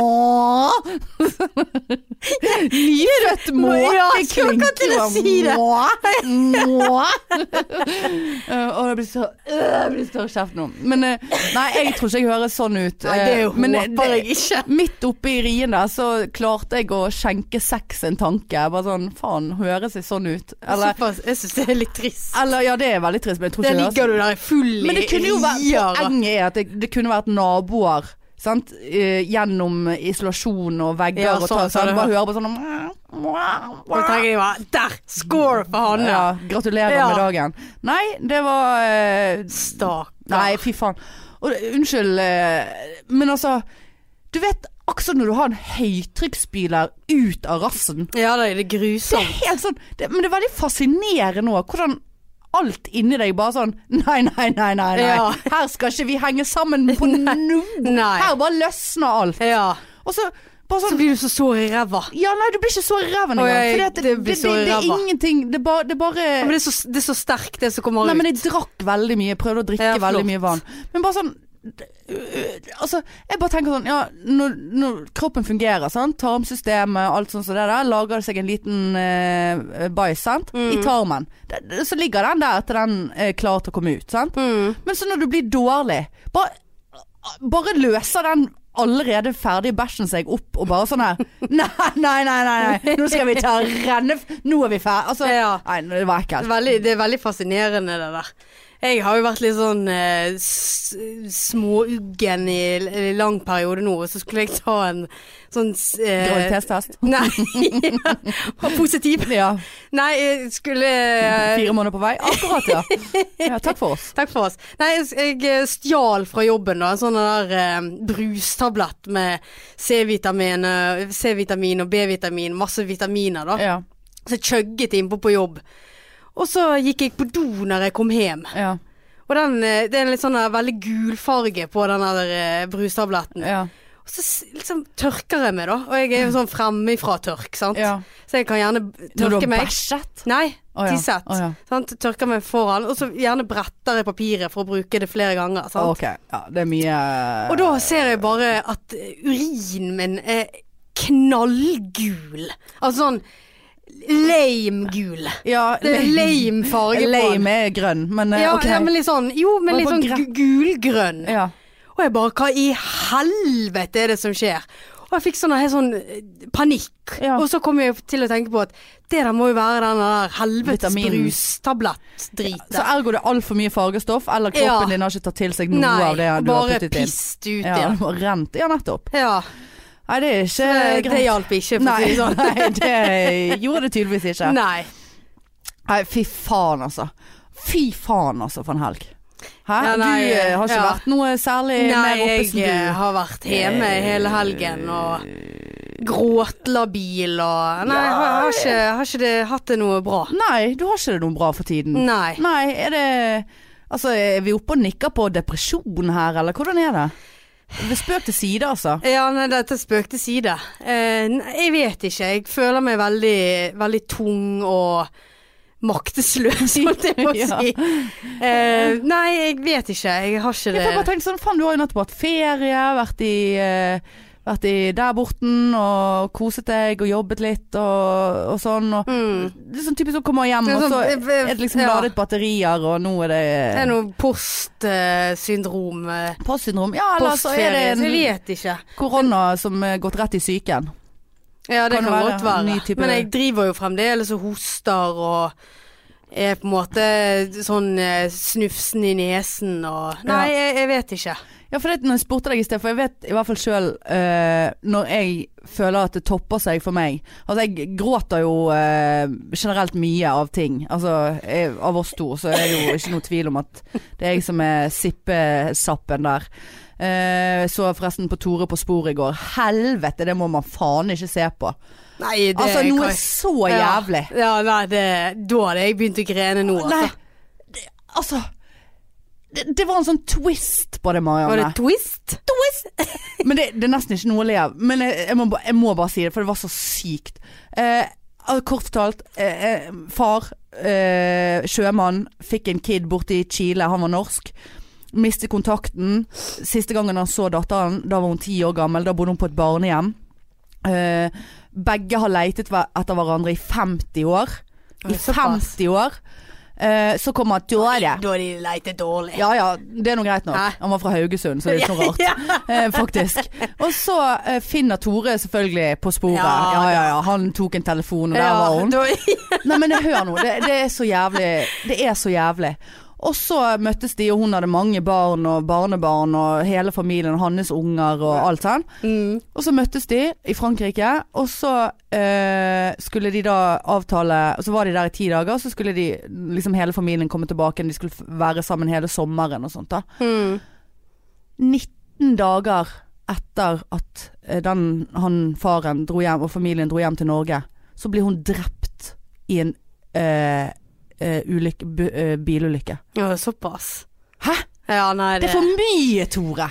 Speaker 1: åh. Nyfødt
Speaker 2: Ja,
Speaker 1: måke
Speaker 2: jeg skulle akkurat til å si det.
Speaker 1: Eh, Og det blir så øh, det blir større kjeft nå. Men eh, nei, jeg tror ikke jeg høres sånn ut.
Speaker 2: Nei, det
Speaker 1: Eh, men
Speaker 2: håper
Speaker 1: det-
Speaker 2: jeg ikke.
Speaker 1: Midt oppe i rien der så klarte jeg å skjenke sex en tanke. Bare sånn faen, høres jeg sånn ut? Eller,
Speaker 2: Såpass, jeg syns det er litt trist.
Speaker 1: eller ja, det er veldig trist, men jeg tror
Speaker 2: Der
Speaker 1: ikke det høres
Speaker 2: ligger du der i full
Speaker 1: Men det kunne jo vært
Speaker 2: rier og-
Speaker 1: Poenget er at det, det kunne vært naboer. Sant? Eh, gjennom isolasjon og vegger
Speaker 2: Ja,
Speaker 1: og
Speaker 2: sånn,
Speaker 1: tak.
Speaker 2: sånn,
Speaker 1: Sånn,
Speaker 2: ja.
Speaker 1: bare hører på sånn om-
Speaker 2: Da tenker jeg bare Der! Score for Hanne!
Speaker 1: ja, Gratulerer
Speaker 2: Ja.
Speaker 1: med dagen. Nei, det var eh,
Speaker 2: Stakkar.
Speaker 1: Nei, fy faen. Og, det- unnskyld, eh, men altså Du vet akkurat når du har en høytrykksspyler ut av rassen.
Speaker 2: Ja, det er det
Speaker 1: Det
Speaker 2: grusomt.
Speaker 1: er helt sånn det, Men det er veldig fascinerende òg, hvordan alt inni deg bare sånn Nei, nei, nei, nei. nei.
Speaker 2: Ja.
Speaker 1: Her skal ikke vi henge sammen på noe.
Speaker 2: Nei.
Speaker 1: Her bare løsner alt.
Speaker 2: Ja.
Speaker 1: Og så bare
Speaker 2: Så
Speaker 1: sånn
Speaker 2: blir du så sår i ræva.
Speaker 1: Ja, nei, du blir ikke så reven
Speaker 2: Å,
Speaker 1: engang.
Speaker 2: jeg-
Speaker 1: fordi at
Speaker 2: det blir
Speaker 1: det,
Speaker 2: så
Speaker 1: det, det er
Speaker 2: ræva.
Speaker 1: ingenting. Det er bare, det er bare
Speaker 2: Ja, Men det er, så, det er så sterkt, det som kommer
Speaker 1: Nei,
Speaker 2: ut.
Speaker 1: men jeg drakk veldig mye. Prøvde å drikke
Speaker 2: Ja, flott.
Speaker 1: veldig mye vann. Men bare sånn Altså, jeg bare tenker sånn Ja, når, når kroppen fungerer, sant. Tarmsystemet, alt sånt som det der. Lager det seg en liten uh, bæsj, sant. I
Speaker 2: Mm.
Speaker 1: tarmen. Det, det- så ligger den der til den er klar til å komme ut, sant.
Speaker 2: Mm.
Speaker 1: Men så når du blir dårlig, bare, bare løser den allerede ferdige bæsjen seg opp og bare sånn her Nei, nei, nei, nei, nei. nå skal vi ta renne... Nå er vi ferdig. Altså,
Speaker 2: Ja.
Speaker 1: nei, det var ekkelt.
Speaker 2: Veldig, det er veldig fascinerende, det der. Jeg har jo vært litt sånn eh, s- småuggen i, l- i lang periode nå, og så skulle jeg ta en sånn s- eh,
Speaker 1: Graviditetstest.
Speaker 2: Nei. Var Positiv.
Speaker 1: Ja.
Speaker 2: Nei, jeg skulle eh,
Speaker 1: Fire måneder på vei. Akkurat, ja. ja takk for oss.
Speaker 2: Takk for oss. Nei, jeg jeg stjal fra jobben da, en sånn der eh, brustablett med C-vitamin eh, C-vitamin og B-vitamin, masse vitaminer da.
Speaker 1: Ja,
Speaker 2: Så jeg chugget innpå på jobb. Og så gikk jeg på do når jeg kom hjem.
Speaker 1: ja,
Speaker 2: Og den, eh, det er en litt sånn der veldig gul farge på den der eh, brustabletten.
Speaker 1: ja.
Speaker 2: Og så s- liksom tørker jeg meg da, og jeg er jo sånn fremmefra tørk, sant.
Speaker 1: ja.
Speaker 2: Så jeg kan gjerne b- tørke meg.
Speaker 1: bæsjet?
Speaker 2: Nei,
Speaker 1: Å ja,
Speaker 2: tisset.
Speaker 1: å ja.
Speaker 2: Sant? Tørker meg foran, og så gjerne bretter jeg papiret for å bruke det flere ganger. Sant?
Speaker 1: Ok, ja, det er mye
Speaker 2: Og da ser jeg bare at eh, urinen min er knallgul. Altså sånn lame-gul.
Speaker 1: ja,
Speaker 2: Det er lame farge på den.
Speaker 1: Lame er grønn, men eh,
Speaker 2: Ja,
Speaker 1: ok.
Speaker 2: ja, men litt sånn Jo, men
Speaker 1: Og
Speaker 2: litt
Speaker 1: på
Speaker 2: sånn
Speaker 1: gre-
Speaker 2: gu- gulgrønn.
Speaker 1: Ja.
Speaker 2: Og jeg bare Hva i helvete er det som skjer? Og jeg fikk sånn, helt sånn eh, panikk.
Speaker 1: Ja.
Speaker 2: Og så kom jeg til å tenke på at det der må jo være den der helvetes
Speaker 1: Vitaminen.
Speaker 2: brustablett-dritet.
Speaker 1: Så ergo det er altfor mye fargestoff, eller kroppen
Speaker 2: Ja.
Speaker 1: din har ikke tatt til seg noe
Speaker 2: Nei,
Speaker 1: av det du har
Speaker 2: bare
Speaker 1: puttet inn.
Speaker 2: pist ut
Speaker 1: Ja,
Speaker 2: igjen.
Speaker 1: det var rent. Ja, nettopp.
Speaker 2: Ja.
Speaker 1: Nei, det er ikke
Speaker 2: Eh, Det
Speaker 1: greit.
Speaker 2: hjalp ikke, for å
Speaker 1: Nei,
Speaker 2: si det sånn.
Speaker 1: nei, det gjorde det tydeligvis ikke.
Speaker 2: Nei.
Speaker 1: Nei, fy faen altså. Fy faen altså for en helg. Hæ?
Speaker 2: Ja, nei,
Speaker 1: du eh, har ikke
Speaker 2: ja.
Speaker 1: vært noe særlig
Speaker 2: Nei,
Speaker 1: mer oppe
Speaker 2: jeg
Speaker 1: som
Speaker 2: eh,
Speaker 1: du.
Speaker 2: har vært hjemme hele helgen og gråtlabil og Nei, har, har, ikke, har ikke det hatt det noe bra.
Speaker 1: Nei, du har ikke det noe bra for tiden.
Speaker 2: Nei.
Speaker 1: Nei, er det Altså, er vi oppe og nikker på depresjon her, eller hvordan er det? Ved spøk til side, altså.
Speaker 2: Ja, nei, dette er spøk til side. Eh, nei, jeg vet ikke. Jeg føler meg veldig, veldig tung og maktesløs, holdt jeg på å
Speaker 1: Ja.
Speaker 2: si. Eh, nei, jeg vet ikke. Jeg har ikke
Speaker 1: Jeg får bare
Speaker 2: det
Speaker 1: tenkt sånn, faen, du har jo nettopp hatt ferie, vært i, eh, vært i der borten og koset deg og jobbet litt og, og sånn. Og,
Speaker 2: Mm.
Speaker 1: Det er sånn typisk å komme hjem,
Speaker 2: Det er
Speaker 1: og
Speaker 2: sånn-
Speaker 1: så
Speaker 2: eh, eh,
Speaker 1: er det liksom
Speaker 2: ja.
Speaker 1: ladet batterier, og nå er det,
Speaker 2: Det er noe postsyndrom. eh,
Speaker 1: postsyndrom. Ja, eller så er det
Speaker 2: Postferie. Så jeg
Speaker 1: en
Speaker 2: vet ikke.
Speaker 1: korona som er gått rett i psyken.
Speaker 2: Ja, det
Speaker 1: Kan
Speaker 2: kan,
Speaker 1: det være
Speaker 2: godt være.
Speaker 1: en ny type-
Speaker 2: Men jeg driver jo fremdeles og hoster og er på en måte sånn eh, snufsen i nesen og Nei, jeg, jeg vet ikke.
Speaker 1: Ja, for det, når jeg spurte deg i sted, for jeg vet i hvert fall sjøl når jeg føler at det topper seg for meg Altså, jeg gråter jo eh, generelt mye av ting. Altså, jeg, av oss to, så er det jo ikke noe tvil om at det er jeg som er sippesappen der. Eh, Jeg så forresten på Tore på sporet i går. Helvete, det må man faen ikke se på.
Speaker 2: Nei, det
Speaker 1: Altså, noe
Speaker 2: kan-
Speaker 1: så
Speaker 2: Ja.
Speaker 1: jævlig.
Speaker 2: Ja, nei, det Da hadde jeg begynt å grene nå, altså.
Speaker 1: Nei, det, altså det, det var en sånn twist på det, Marianne.
Speaker 2: Var det twist?
Speaker 1: Men det, det er nesten ikke noe å le av. Men jeg, jeg, må, ba- jeg må bare si det, for det var så sykt. Eh, al- kort fortalt, eh, eh, far, eh, sjømann, fikk en kid borte i Chile, han var norsk. Mistet kontakten. Siste gangen han så datteren, da var hun ti år gammel, da bodde hun på et barnehjem. Eh, begge har leitet hver- etter hverandre i 50 år.
Speaker 2: Oi,
Speaker 1: I
Speaker 2: såpass.
Speaker 1: 50 år. Eh, så kommer Tore.
Speaker 2: Da de leter dårlig.
Speaker 1: Ja ja, det er nå greit nok.
Speaker 2: Hæ?
Speaker 1: Han var fra Haugesund, så det er ikke noe rart
Speaker 2: Ja.
Speaker 1: eh, faktisk. Og så eh, finner Tore selvfølgelig på sporet.
Speaker 2: Ja,
Speaker 1: Ja, ja, ja. Han tok en telefon, og der
Speaker 2: Ja,
Speaker 1: var hun.
Speaker 2: da,
Speaker 1: Nei, men hør nå. Det, det er så jævlig. Det er så jævlig. Og så møttes de, og hun hadde mange barn og barnebarn og hele familien og hans unger og alt sånn.
Speaker 2: mm.
Speaker 1: Og så møttes de i Frankrike, og så eh, skulle de da avtale Og så var de der i ti dager, og så skulle de liksom hele familien komme tilbake, de skulle f- være sammen hele sommeren og sånt da.
Speaker 2: Mm.
Speaker 1: 19 dager etter at eh, den, han faren dro hjem, og familien dro hjem til Norge, så blir hun drept i en eh, eh, ulykke, bu- eh, bilulykke.
Speaker 2: ja, såpass.
Speaker 1: Hæ?
Speaker 2: Ja, nei,
Speaker 1: Det
Speaker 2: det
Speaker 1: er for mye, Tore!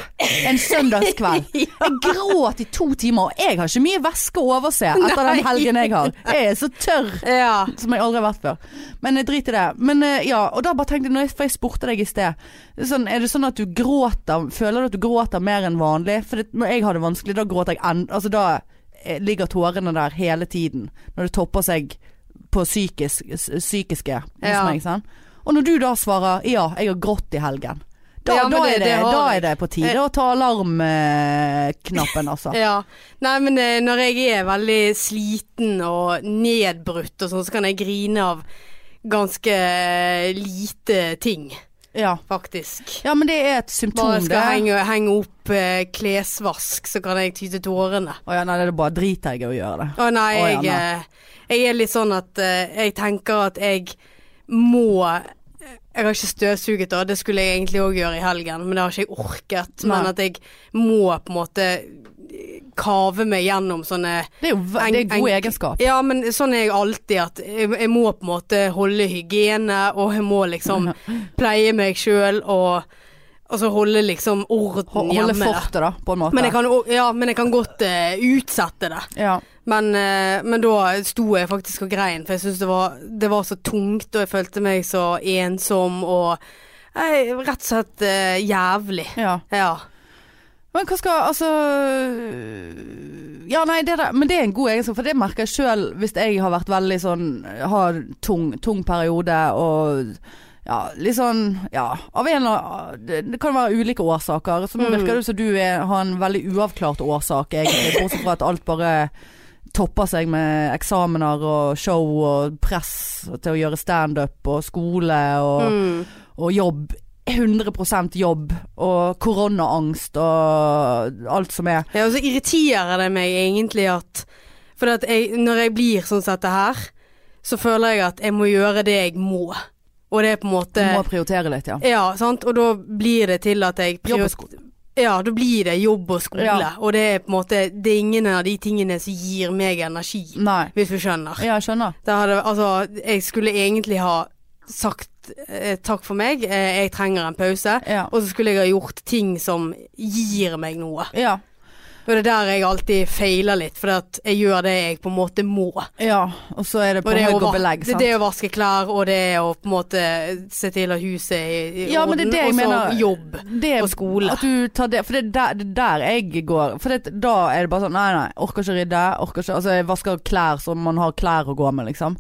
Speaker 1: En søndagskveld. Jeg gråt i to timer, og jeg har ikke mye væske å overse etter den helgen jeg har. Jeg er så tørr
Speaker 2: Ja.
Speaker 1: som jeg aldri har vært før. Men jeg driter i det. Men eh, ja, og da bare tenkte jeg, når jeg, for jeg spurte deg i sted sånn, Er det sånn at du gråter Føler du at du gråter mer enn vanlig? For det, når jeg har det vanskelig, da gråter jeg en, Altså da eh, ligger tårene der hele tiden. Når det topper seg på psykisk, s- psykiske hos
Speaker 2: Ja.
Speaker 1: meg. Sant? Og når du da svarer 'ja, jeg har grått i helgen', da,
Speaker 2: Ja, men
Speaker 1: da,
Speaker 2: det-
Speaker 1: er, det,
Speaker 2: det har Eh.
Speaker 1: da
Speaker 2: jeg.
Speaker 1: er det på tide å ta alarmknappen, altså.
Speaker 2: Ja. Nei, men eh, når jeg er veldig sliten og nedbrutt og sånn, så kan jeg grine av ganske eh, lite ting,
Speaker 1: Ja.
Speaker 2: faktisk.
Speaker 1: ja, men det er et symptom,
Speaker 2: Bare skal
Speaker 1: det.
Speaker 2: henge, henge opp eh, klesvask, så kan jeg ty til tårene.
Speaker 1: Å ja, nei, det er bare driter jeg i å gjøre det.
Speaker 2: Å nei,
Speaker 1: Å, ja,
Speaker 2: jeg, eh, jeg er litt sånn at eh, jeg tenker at jeg må Jeg har ikke støvsuget da, det skulle jeg egentlig òg gjøre i helgen, men det har ikke jeg orket. Men
Speaker 1: Nei.
Speaker 2: at jeg må på en måte eh, kave meg gjennom sånne
Speaker 1: Det er jo v- det er
Speaker 2: Eng-
Speaker 1: god
Speaker 2: eng-
Speaker 1: egenskap.
Speaker 2: Ja, men sånn er jeg alltid at jeg, jeg må på en måte holde hygiene, og jeg må liksom pleie meg sjøl og altså holde liksom orden
Speaker 1: Ho- Holde
Speaker 2: hjemme. da.
Speaker 1: fortet, da, på en måte.
Speaker 2: Men jeg kan, o- ja, men jeg kan godt eh, utsette det.
Speaker 1: ja.
Speaker 2: Men, eh, men da sto jeg faktisk og grein, for jeg syntes det, var- det var så tungt, og jeg følte meg så ensom og eh, rett og slett eh, jævlig.
Speaker 1: ja.
Speaker 2: Ja.
Speaker 1: Men hva skal Altså Ja, nei, det der, men det er en god egenskap, for det merker jeg sjøl hvis jeg har vært veldig sånn Har tung, tung periode og ja, litt sånn Ja, av en eller Det, det kan være ulike årsaker. Så nå virker det som du er, har en veldig uavklart årsak, egentlig. Bortsett fra at alt bare topper seg med eksamener og show og press til å gjøre standup og skole og
Speaker 2: Mm.
Speaker 1: og jobb. 100 jobb og koronaangst og alt som er.
Speaker 2: Ja, og så irriterer det meg egentlig at For at jeg, når jeg blir sånn som dette her, så føler jeg at jeg må gjøre det jeg må. Og det er på en
Speaker 1: Du
Speaker 2: måte
Speaker 1: må prioritere litt, ja.
Speaker 2: Ja, sant. Og da blir det til at jeg
Speaker 1: Jobb og
Speaker 2: prior-
Speaker 1: skole.
Speaker 2: Ja, da blir det jobb og skole.
Speaker 1: Ja.
Speaker 2: Og det er på en måte Det er ingen av de tingene som gir meg energi,
Speaker 1: Nei.
Speaker 2: hvis du skjønner.
Speaker 1: Ja, jeg skjønner.
Speaker 2: Da hadde, altså, jeg skulle egentlig ha sagt eh, takk for meg, eh, jeg trenger en pause.
Speaker 1: Ja.
Speaker 2: Og så skulle jeg ha gjort ting som gir meg noe.
Speaker 1: Ja.
Speaker 2: Og det er der jeg alltid feiler litt, for at jeg gjør det jeg på en måte må.
Speaker 1: ja. Og så er det
Speaker 2: Og
Speaker 1: på
Speaker 2: det, er
Speaker 1: høyt
Speaker 2: å
Speaker 1: og
Speaker 2: va-
Speaker 1: belegg,
Speaker 2: det,
Speaker 1: sant.
Speaker 2: det er å vaske klær, og det er å på en måte se til at huset er i- i
Speaker 1: Ja, men det er
Speaker 2: orden,
Speaker 1: det jeg
Speaker 2: og så
Speaker 1: mener.
Speaker 2: jobb.
Speaker 1: det,
Speaker 2: og skole.
Speaker 1: At du tar det, for det er der, det er der jeg går. For det, da er det bare sånn Nei, nei, orker ikke rydde. Orker ikke Altså, jeg vasker klær så man har klær å gå med, liksom.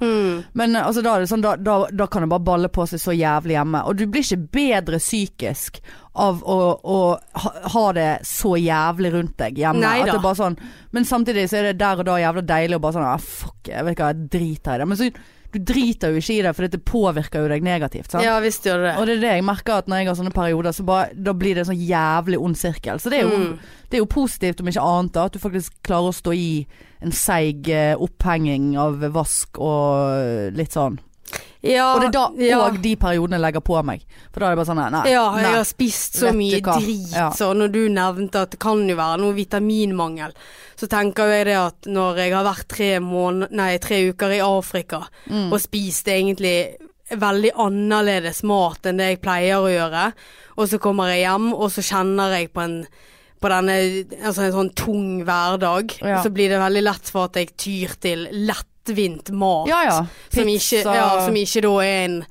Speaker 1: Men eh, altså, da er det sånn da, da, da kan det bare balle på seg så jævlig hjemme. Og du blir ikke bedre psykisk av å, å ha, ha det så jævlig rundt deg hjemme.
Speaker 2: Nei
Speaker 1: At
Speaker 2: da.
Speaker 1: det bare sånn Men samtidig så er det der og da jævla deilig å bare sånn ah, Fuck, jeg vet ikke hva, jeg driter i det. Men så du driter jo ikke i det, for det påvirker jo deg negativt. Sant?
Speaker 2: Ja visst gjør det det.
Speaker 1: Og det er det jeg merker at når jeg har sånne perioder, så bare, da blir det en sånn jævlig ond sirkel. Så det er, jo,
Speaker 2: Mm.
Speaker 1: det er jo positivt, om ikke annet, da, at du faktisk klarer å stå i en seig eh, opphenging av vask og litt sånn.
Speaker 2: Ja,
Speaker 1: Og det er da
Speaker 2: Ah, ja.
Speaker 1: og de periodene jeg legger på meg. For da er det bare sånn nei, nei.
Speaker 2: Ja, jeg
Speaker 1: nei.
Speaker 2: har spist så
Speaker 1: Vet du
Speaker 2: mye
Speaker 1: hva?
Speaker 2: drit,
Speaker 1: Ja.
Speaker 2: så når du nevnte at det kan jo være noe vitaminmangel, så tenker jeg det at når jeg har vært tre, måned, nei, tre uker i Afrika
Speaker 1: Mm.
Speaker 2: og spist egentlig veldig annerledes mat enn det jeg pleier å gjøre, og så kommer jeg hjem, og så kjenner jeg på en på denne, altså en sånn tung hverdag,
Speaker 1: Ja.
Speaker 2: så blir det veldig lett for at jeg tyr til lettvint mat
Speaker 1: Ja ja.
Speaker 2: som ikke,
Speaker 1: Pizza.
Speaker 2: ja, som ikke da er en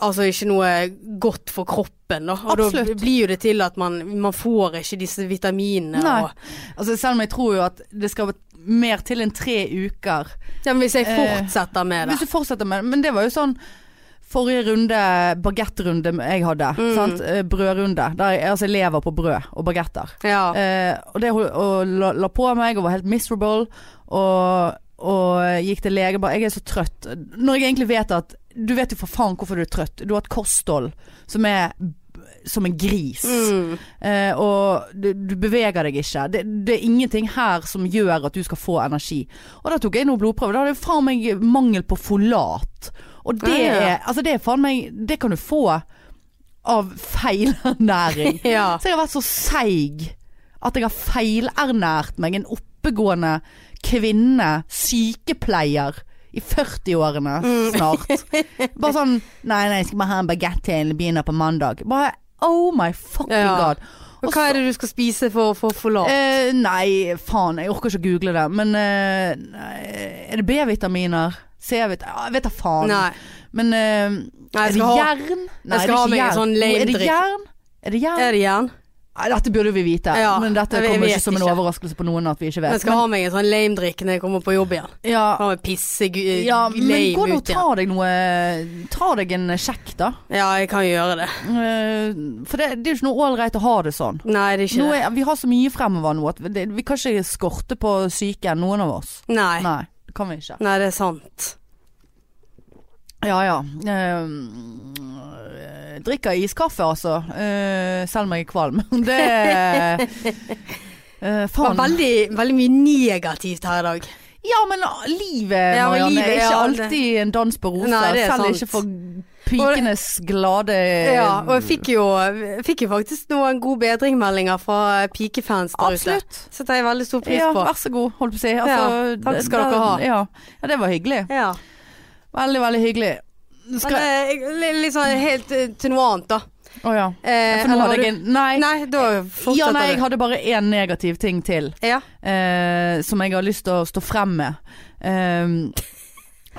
Speaker 2: Altså ikke noe godt for kroppen, da. Og da
Speaker 1: Absolutt.
Speaker 2: blir jo det til at man, man får ikke disse vitaminene
Speaker 1: Nei.
Speaker 2: og
Speaker 1: Altså, selv om jeg tror jo at det skal mer til enn tre uker
Speaker 2: Ja, men hvis jeg
Speaker 1: Eh,
Speaker 2: fortsetter med det
Speaker 1: Hvis du fortsetter med det. Men det var jo sånn Forrige runde, bagettrunde jeg hadde,
Speaker 2: Mm.
Speaker 1: sant? Eh, brødrunde. Der jeg, altså, jeg lever på brød og bagetter.
Speaker 2: Ja.
Speaker 1: Eh, og det hol- og la, la på meg og var helt miserable. Og, og gikk til lege bare 'Jeg er så trøtt'. Når jeg egentlig vet at Du vet jo for faen hvorfor du er trøtt. Du har et kosthold som er b- som en gris.
Speaker 2: Mm.
Speaker 1: Eh, og du, du beveger deg ikke. Det, det er ingenting her som gjør at du skal få energi. Og da tok jeg noe blodprøve. Da hadde jeg faen meg mangel på folat. Og det
Speaker 2: Ah, Ja, ja.
Speaker 1: er Altså, det er faen meg Det kan du få av feilernæring.
Speaker 2: ja.
Speaker 1: Så jeg har vært så seig at jeg har feilernært meg. En oppegående kvinne, sykepleier, i 40-årene
Speaker 2: Mm.
Speaker 1: snart. Bare sånn Nei, nei, jeg skal bare ha en bagett til jeg begynner på mandag. Bare oh my fucking
Speaker 2: Ja.
Speaker 1: god.
Speaker 2: Og hva er det du skal spise for å få forlat?
Speaker 1: Eh, nei, faen, jeg orker ikke å google det. Men eh, nei, er det B-vitaminer? C-vitamin ah, Jeg vet da faen.
Speaker 2: Nei.
Speaker 1: Men eh, er
Speaker 2: Nei, jeg
Speaker 1: det
Speaker 2: skal ha-
Speaker 1: jern? Nei,
Speaker 2: skal
Speaker 1: det er
Speaker 2: ha
Speaker 1: ikke
Speaker 2: meg en
Speaker 1: jern. Nå,
Speaker 2: sånn
Speaker 1: Er
Speaker 2: legendrikk.
Speaker 1: det jern? Er det jern?
Speaker 2: Er det jern?
Speaker 1: Nei, dette burde vi vite,
Speaker 2: Ja,
Speaker 1: men dette
Speaker 2: jeg vet-
Speaker 1: kommer
Speaker 2: jeg
Speaker 1: ikke som en
Speaker 2: vet ikke.
Speaker 1: overraskelse på noen at vi ikke vet.
Speaker 2: Jeg skal ha meg en sånn lame drikk når jeg kommer på jobb igjen.
Speaker 1: men, ja,
Speaker 2: Kan meg pisse gu-
Speaker 1: ja, men gå
Speaker 2: lame
Speaker 1: nå og
Speaker 2: ut
Speaker 1: ta
Speaker 2: igjen.
Speaker 1: deg noe Ta deg en sjekk, da.
Speaker 2: Ja, jeg kan gjøre det.
Speaker 1: Eh, For det, det er jo ikke noe ålreit å ha det sånn.
Speaker 2: Nei, det er ikke
Speaker 1: Nå
Speaker 2: det.
Speaker 1: er, vi har så mye fremover nå at det, vi kan ikke skorte på syke, noen av oss.
Speaker 2: Nei.
Speaker 1: Nei, det kan vi ikke.
Speaker 2: Nei, det er sant.
Speaker 1: Ja ja. Ehm, Eh, drikker iskaffe, altså. Eh, selv om jeg er kvalm. Det eh,
Speaker 2: Det var
Speaker 1: Faen.
Speaker 2: veldig, veldig mye negativt her i dag.
Speaker 1: Ja, men ah, livet,
Speaker 2: Ja, men
Speaker 1: Marianne,
Speaker 2: livet
Speaker 1: er
Speaker 2: er
Speaker 1: ikke
Speaker 2: aldri-
Speaker 1: alltid en dans på roser.
Speaker 2: Nei, det er
Speaker 1: Selv
Speaker 2: sant.
Speaker 1: ikke for pikenes glade eh,
Speaker 2: Ja, og jeg fikk jo, fikk jo faktisk noen gode bedringmeldinger fra pikefans der ute.
Speaker 1: Absolutt.
Speaker 2: Setter jeg veldig stor pris
Speaker 1: Ja,
Speaker 2: på.
Speaker 1: vær så god, holdt på å si. Altså,
Speaker 2: Ja, takk skal
Speaker 1: det-
Speaker 2: dere ha.
Speaker 1: Ja. ja, det var hyggelig.
Speaker 2: Ja.
Speaker 1: Veldig, vellig hyggelig.
Speaker 2: Men
Speaker 1: Skal...
Speaker 2: eh, jeg- litt sånn helt eh, til noe annet, da.
Speaker 1: Å ja.
Speaker 2: Eh,
Speaker 1: For nå
Speaker 2: eller
Speaker 1: hadde
Speaker 2: har
Speaker 1: jeg
Speaker 2: du-
Speaker 1: en Nei.
Speaker 2: Nei, da fortsetter
Speaker 1: Ja, nei, jeg
Speaker 2: du.
Speaker 1: hadde bare én negativ ting til.
Speaker 2: Ja.
Speaker 1: eh, som jeg har lyst til å stå frem med. Ehm,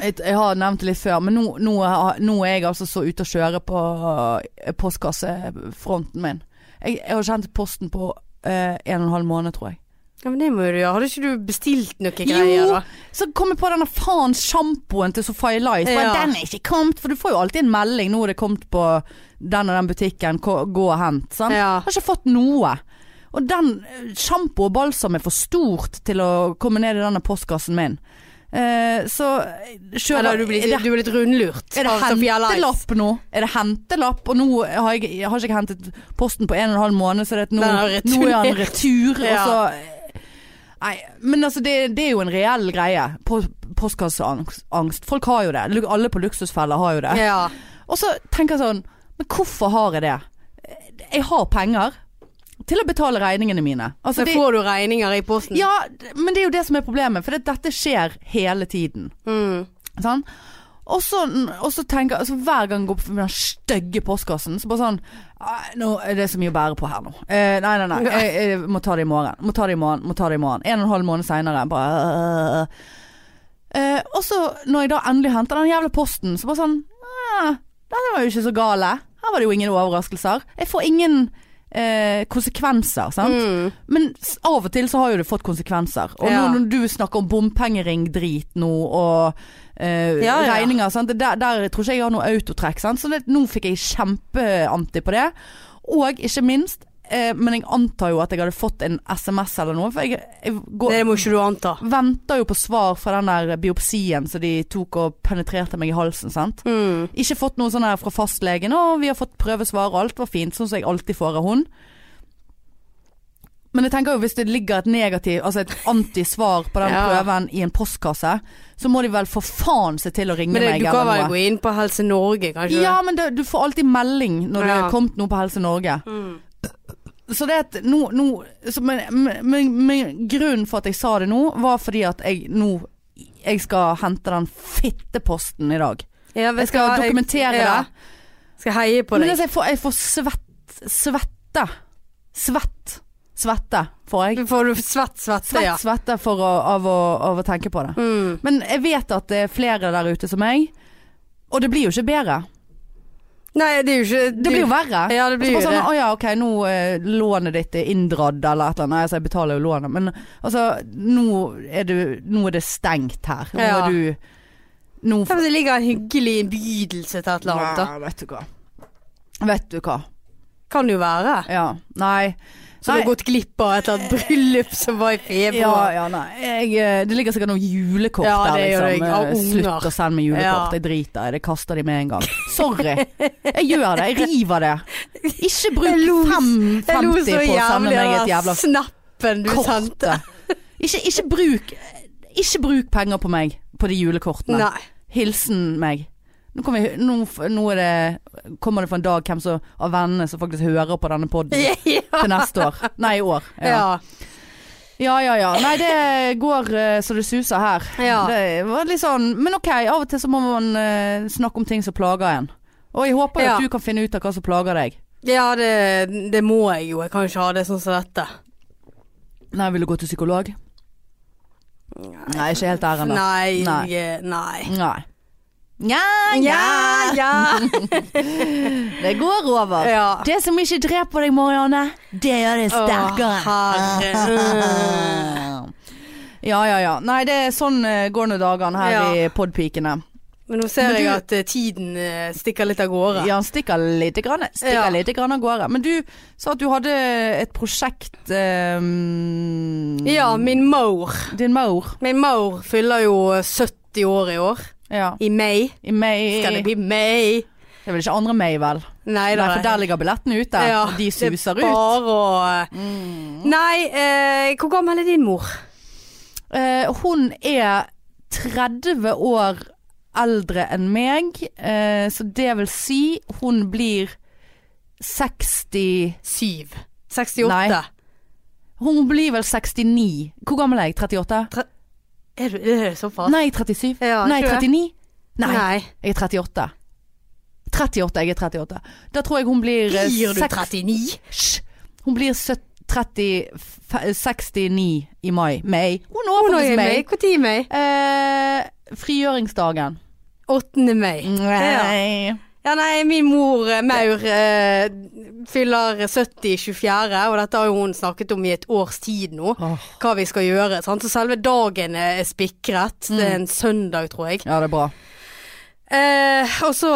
Speaker 1: jeg, jeg har nevnt det litt før, men nå, nå, har- nå er jeg altså så ute å kjøre på eh, postkassefronten min. Jeg, jeg har ikke hentet posten på eh, en og en halv måned, tror jeg.
Speaker 2: ja, men det må du gjøre. Hadde ikke du bestilt noe greier,
Speaker 1: Jo!
Speaker 2: da?
Speaker 1: Så kom jeg på denne faen sjampoen til Sofie Light.
Speaker 2: Ja.
Speaker 1: Den er ikke kommet, for du får jo alltid en melding. Nå er det kommet på den og den butikken, gå gå og hent. Sant?
Speaker 2: Ja.
Speaker 1: Har ikke fått noe. Og den eh, sjampo og balsam er for stort til å komme ned i denne postkassen min. Eh, så eh, kjører
Speaker 2: Eller har du blitt,
Speaker 1: er det,
Speaker 2: du er blitt rundlurt?
Speaker 1: er det
Speaker 2: av Sophia Lice?
Speaker 1: hentelapp nå? Er det hentelapp? Og nå har jeg, jeg har ikke jeg hentet posten på en og en halv måned, så det er at nå,
Speaker 2: Den er
Speaker 1: nå er han
Speaker 2: returnert.
Speaker 1: retur.
Speaker 2: Ja.
Speaker 1: Og så, nei, men altså, det, det er jo en reell greie. Po- Postkasseangst. angst. Folk har jo det. Lu- Alle på luksusfeller har jo det.
Speaker 2: Ja.
Speaker 1: Og så tenker jeg sånn Men hvorfor har jeg det? Jeg har penger. til å betale regningene mine. Altså,
Speaker 2: Men
Speaker 1: det,
Speaker 2: får du regninger i posten?
Speaker 1: ja, d- men det er jo det som er problemet, for det, dette skjer hele tiden.
Speaker 2: Mm.
Speaker 1: Sånn. Og så, og så tenker altså Hver gang jeg går på den stygge postkassen, så bare sånn «Ah, nå er Det så mye å bære på her nå. Eh, nei, nei, nei. Jeg, jeg må ta det i morgen. Må ta det i morgen. må ta det i morgen En og en halv måned seinere. Øh. Eh, og så, når jeg da endelig henter den jævla posten, så bare sånn ah, Dette var jo ikke så gale. Her var det jo ingen overraskelser. Jeg får ingen eh, konsekvenser, sant.
Speaker 2: Mm.
Speaker 1: Men s- av og til så har jo det fått konsekvenser. Og
Speaker 2: Ja.
Speaker 1: nå når du snakker om bompengeringdrit nå og eh,
Speaker 2: Ja, ja.
Speaker 1: regninger, sant? det der, der tror ikke jeg har noe autotrekk. Sant? Så det, nå fikk jeg kjempeanti på det. Og ikke minst, eh, men jeg antar jo at jeg hadde fått en SMS eller noe, for jeg, jeg går,
Speaker 2: Det må ikke du anta.
Speaker 1: venter jo på svar fra den der biopsien som de tok og penetrerte meg i halsen. Sant?
Speaker 2: Mm.
Speaker 1: Ikke fått noe sånn her fra fastlegen. Å, vi har fått prøvesvar, og alt var fint. Sånn som jeg alltid får av hun. Men jeg tenker jo hvis det ligger et negativ, altså et antisvar på den
Speaker 2: Ja.
Speaker 1: prøven i en postkasse, så må de vel for faen se til å ringe
Speaker 2: Men det,
Speaker 1: meg
Speaker 2: du kan vel
Speaker 1: eller noe.
Speaker 2: gå inn på Helse Norge, kanskje?
Speaker 1: Ja, men det, du får alltid melding når det
Speaker 2: Ja.
Speaker 1: er kommet noe på Helse Norge.
Speaker 2: Mm.
Speaker 1: Så det at nå, nå så, men, men, men, men grunnen for at jeg sa det nå, var fordi at jeg nå Jeg skal hente den fitteposten i dag.
Speaker 2: Ja, vet
Speaker 1: Jeg skal
Speaker 2: du hva,
Speaker 1: dokumentere
Speaker 2: ja.
Speaker 1: det.
Speaker 2: Skal heie på
Speaker 1: Men
Speaker 2: deg.
Speaker 1: altså, jeg får, jeg får svett, svette. Svett. Svette får jeg.
Speaker 2: Får du svett, svette,
Speaker 1: Svett
Speaker 2: ja.
Speaker 1: svette for å, av, å, av å tenke på det.
Speaker 2: Mm.
Speaker 1: Men jeg vet at det er flere der ute som meg, og det blir jo ikke bedre.
Speaker 2: Nei, det er jo ikke
Speaker 1: Det blir jo verre.
Speaker 2: Ja, det blir
Speaker 1: Så
Speaker 2: jo
Speaker 1: bare sånn,
Speaker 2: det.
Speaker 1: Å ja, ok, nå eh, lånet ditt er inndradd eller et eller annet. Nei, Altså, jeg betaler jo lånet, men altså, nå er, du, nå er det stengt her. Nå
Speaker 2: Ja.
Speaker 1: er du Nå
Speaker 2: Ja, men Det ligger en hyggelig innbydelse til et eller annet. Da.
Speaker 1: Nei, vet du hva. Vet du hva.
Speaker 2: Kan jo være.
Speaker 1: Ja. Nei.
Speaker 2: Så
Speaker 1: Nei.
Speaker 2: du har gått glipp av et eller annet bryllup som var i
Speaker 1: Ja,
Speaker 2: februar.
Speaker 1: ja, nei. Jeg, eh, det ligger sikkert noen julekort
Speaker 2: Ja,
Speaker 1: der,
Speaker 2: det gjør det.
Speaker 1: liksom.
Speaker 2: Jeg har
Speaker 1: Eh,
Speaker 2: unger.
Speaker 1: Slutt å sende meg julekort.
Speaker 2: Ja.
Speaker 1: Jeg driter i det. Kaster de med en gang. Sorry. Jeg gjør det. Jeg river det. Ikke bruk
Speaker 2: Jeg lo-
Speaker 1: fem- 50 på å sende meg
Speaker 2: av
Speaker 1: et jævla
Speaker 2: snappen du
Speaker 1: kort.
Speaker 2: sendte.
Speaker 1: Ikke, ikke bruk Ikke bruk penger på meg på de julekortene.
Speaker 2: Nei.
Speaker 1: Hilsen meg. Nå, kommer jeg, nå, f- nå er det, kommer det for en dag hvem som, av vennene som faktisk hører på denne poden
Speaker 2: Ja.
Speaker 1: til neste år. Nei, i år. Ja.
Speaker 2: Ja.
Speaker 1: Ja, ja, ja. Nei, det går eh, så det suser her.
Speaker 2: Ja.
Speaker 1: Det var litt sånn Men ok, av og til så må man eh, snakke om ting som plager en. Og jeg håper jo
Speaker 2: Ja.
Speaker 1: at du kan finne ut av hva som plager deg.
Speaker 2: ja, det, det må jeg jo. Jeg kan ikke ha det sånn som dette.
Speaker 1: Nei, vil du gå til psykolog? Nei, ikke helt der ennå.
Speaker 2: Nei.
Speaker 1: Nei.
Speaker 2: jeg- Nei.
Speaker 1: Nei. Nja, nja.
Speaker 2: Ja, ja.
Speaker 1: Det går over.
Speaker 2: Ja.
Speaker 1: Det som ikke dreper deg, Marianne, det gjør deg
Speaker 2: Å,
Speaker 1: sterkere.
Speaker 2: herre.
Speaker 1: Ja, ja, ja. Nei, det er sånn eh, går nå dagene her
Speaker 2: Ja.
Speaker 1: i podpikene.
Speaker 2: Men nå ser
Speaker 1: Men
Speaker 2: jeg
Speaker 1: du-
Speaker 2: at eh, tiden eh, stikker litt av gårde.
Speaker 1: Ja, han stikker lite grann, stikker
Speaker 2: Ja.
Speaker 1: lite grann av gårde. Men du sa at du hadde et prosjekt ehm,
Speaker 2: Ja, min maur.
Speaker 1: Din mor.
Speaker 2: Min maur fyller jo eh, 70 år i år.
Speaker 1: Ja.
Speaker 2: I mai.
Speaker 1: I May
Speaker 2: Skal det bli mai?
Speaker 1: Det er vel ikke andre May, vel?
Speaker 2: Nei
Speaker 1: Nei,
Speaker 2: da.
Speaker 1: for der ligger billettene ute.
Speaker 2: Ja,
Speaker 1: og de suser
Speaker 2: det
Speaker 1: ut.
Speaker 2: er
Speaker 1: Mm.
Speaker 2: Bare å eh, Nei, eh, hvor gammel er din mor?
Speaker 1: Eh, hun er 30 år eldre enn meg, eh, så det vil si hun blir 60
Speaker 2: Syv. 68.
Speaker 1: Nei. Hun blir vel 69. Hvor gammel er jeg? 38?
Speaker 2: Er du er det såpass?
Speaker 1: Nei, 37.
Speaker 2: Ja,
Speaker 1: Nei,
Speaker 2: tror jeg.
Speaker 1: 39. Nei,
Speaker 2: Nei.
Speaker 1: jeg er 38. 38, jeg er 38. Da tror jeg hun blir eh,
Speaker 2: Blir du
Speaker 1: seks-
Speaker 2: 39?
Speaker 1: Hysj! Hun blir søt- 30, f- 69 i mai. May. Hun når
Speaker 2: Hvor
Speaker 1: faktisk
Speaker 2: er
Speaker 1: May.
Speaker 2: meg? Når er meg?
Speaker 1: Eh, frigjøringsdagen.
Speaker 2: 8. mai.
Speaker 1: Mm, Nei.
Speaker 2: Ja, nei, min mor, eh, Maur, eh, fyller 70 24., og dette har jo hun snakket om i et års tid nå.
Speaker 1: Åh.
Speaker 2: Hva vi skal gjøre. Sant? Så selve dagen er spikret. Det er en søndag, tror jeg.
Speaker 1: Ja, det er bra.
Speaker 2: Eh, og så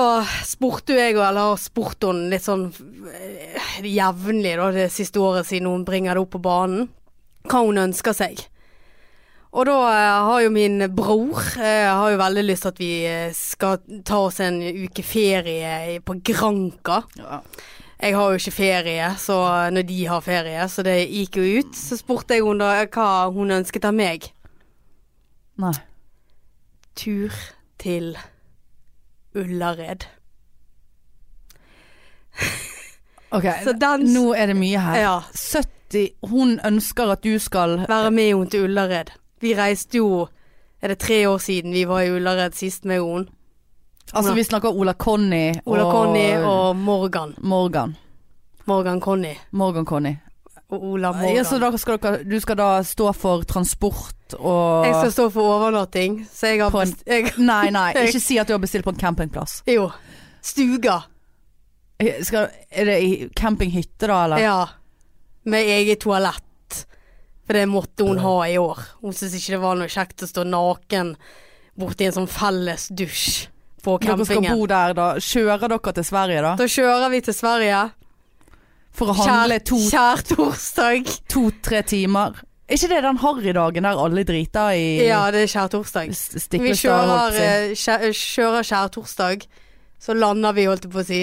Speaker 2: spurte jo jeg, eller har spurt hun litt sånn eh, jevnlig da, det siste året siden hun bringer det opp på banen, hva hun ønsker seg. Og da eh, har jo min bror eh, har jo veldig lyst til at vi eh, skal ta oss en uke ferie i- på Granka.
Speaker 1: Ja.
Speaker 2: Jeg har jo ikke ferie, så eh, når de har ferie, så det gikk jo ut. Så spurte jeg hun da eh, hva hun ønsket av meg.
Speaker 1: Nei.
Speaker 2: tur til Ullared.
Speaker 1: Ok,
Speaker 2: Så den
Speaker 1: nå er det mye her.
Speaker 2: Ja.
Speaker 1: 70 Hun ønsker at du skal
Speaker 2: Være med henne til Ullared. Vi reiste jo Er det tre år siden vi var i Ullared sist med henne?
Speaker 1: Altså, vi snakker Ola Conny
Speaker 2: Ola
Speaker 1: og
Speaker 2: Conny og Morgan.
Speaker 1: Morgan.
Speaker 2: Morgan Conny
Speaker 1: Morgan Conny.
Speaker 2: og Ola Morgan.
Speaker 1: Ja, så da skal dere, du skal da stå for transport og
Speaker 2: Jeg skal stå for overnatting, så jeg har
Speaker 1: På en-
Speaker 2: best... Jeg,
Speaker 1: Nei, nei, ikke si at du har bestilt på en campingplass.
Speaker 2: jo. Stuga.
Speaker 1: Eh, Skal, er det i campinghytte da, eller?
Speaker 2: Ja. Med eget toalett. For det måtte hun ha i år. Hun syntes ikke det var noe kjekt å stå naken borti en sånn felles dusj på
Speaker 1: Dere skal
Speaker 2: campingen.
Speaker 1: bo der da. Kjører dere til Sverige da?
Speaker 2: Da kjører vi til Sverige.
Speaker 1: For å
Speaker 2: Kjær,
Speaker 1: handle to-
Speaker 2: kjær torsdag.
Speaker 1: to-tre timer. Er ikke det den harrydagen der alle driter i
Speaker 2: Ja, det er skjær torsdag.
Speaker 1: s-
Speaker 2: Vi
Speaker 1: Stiklestad? holdt
Speaker 2: kjører,
Speaker 1: på å si?
Speaker 2: eh, skjæ- eh, kjører skjær torsdag, så lander vi, holdt jeg på å si,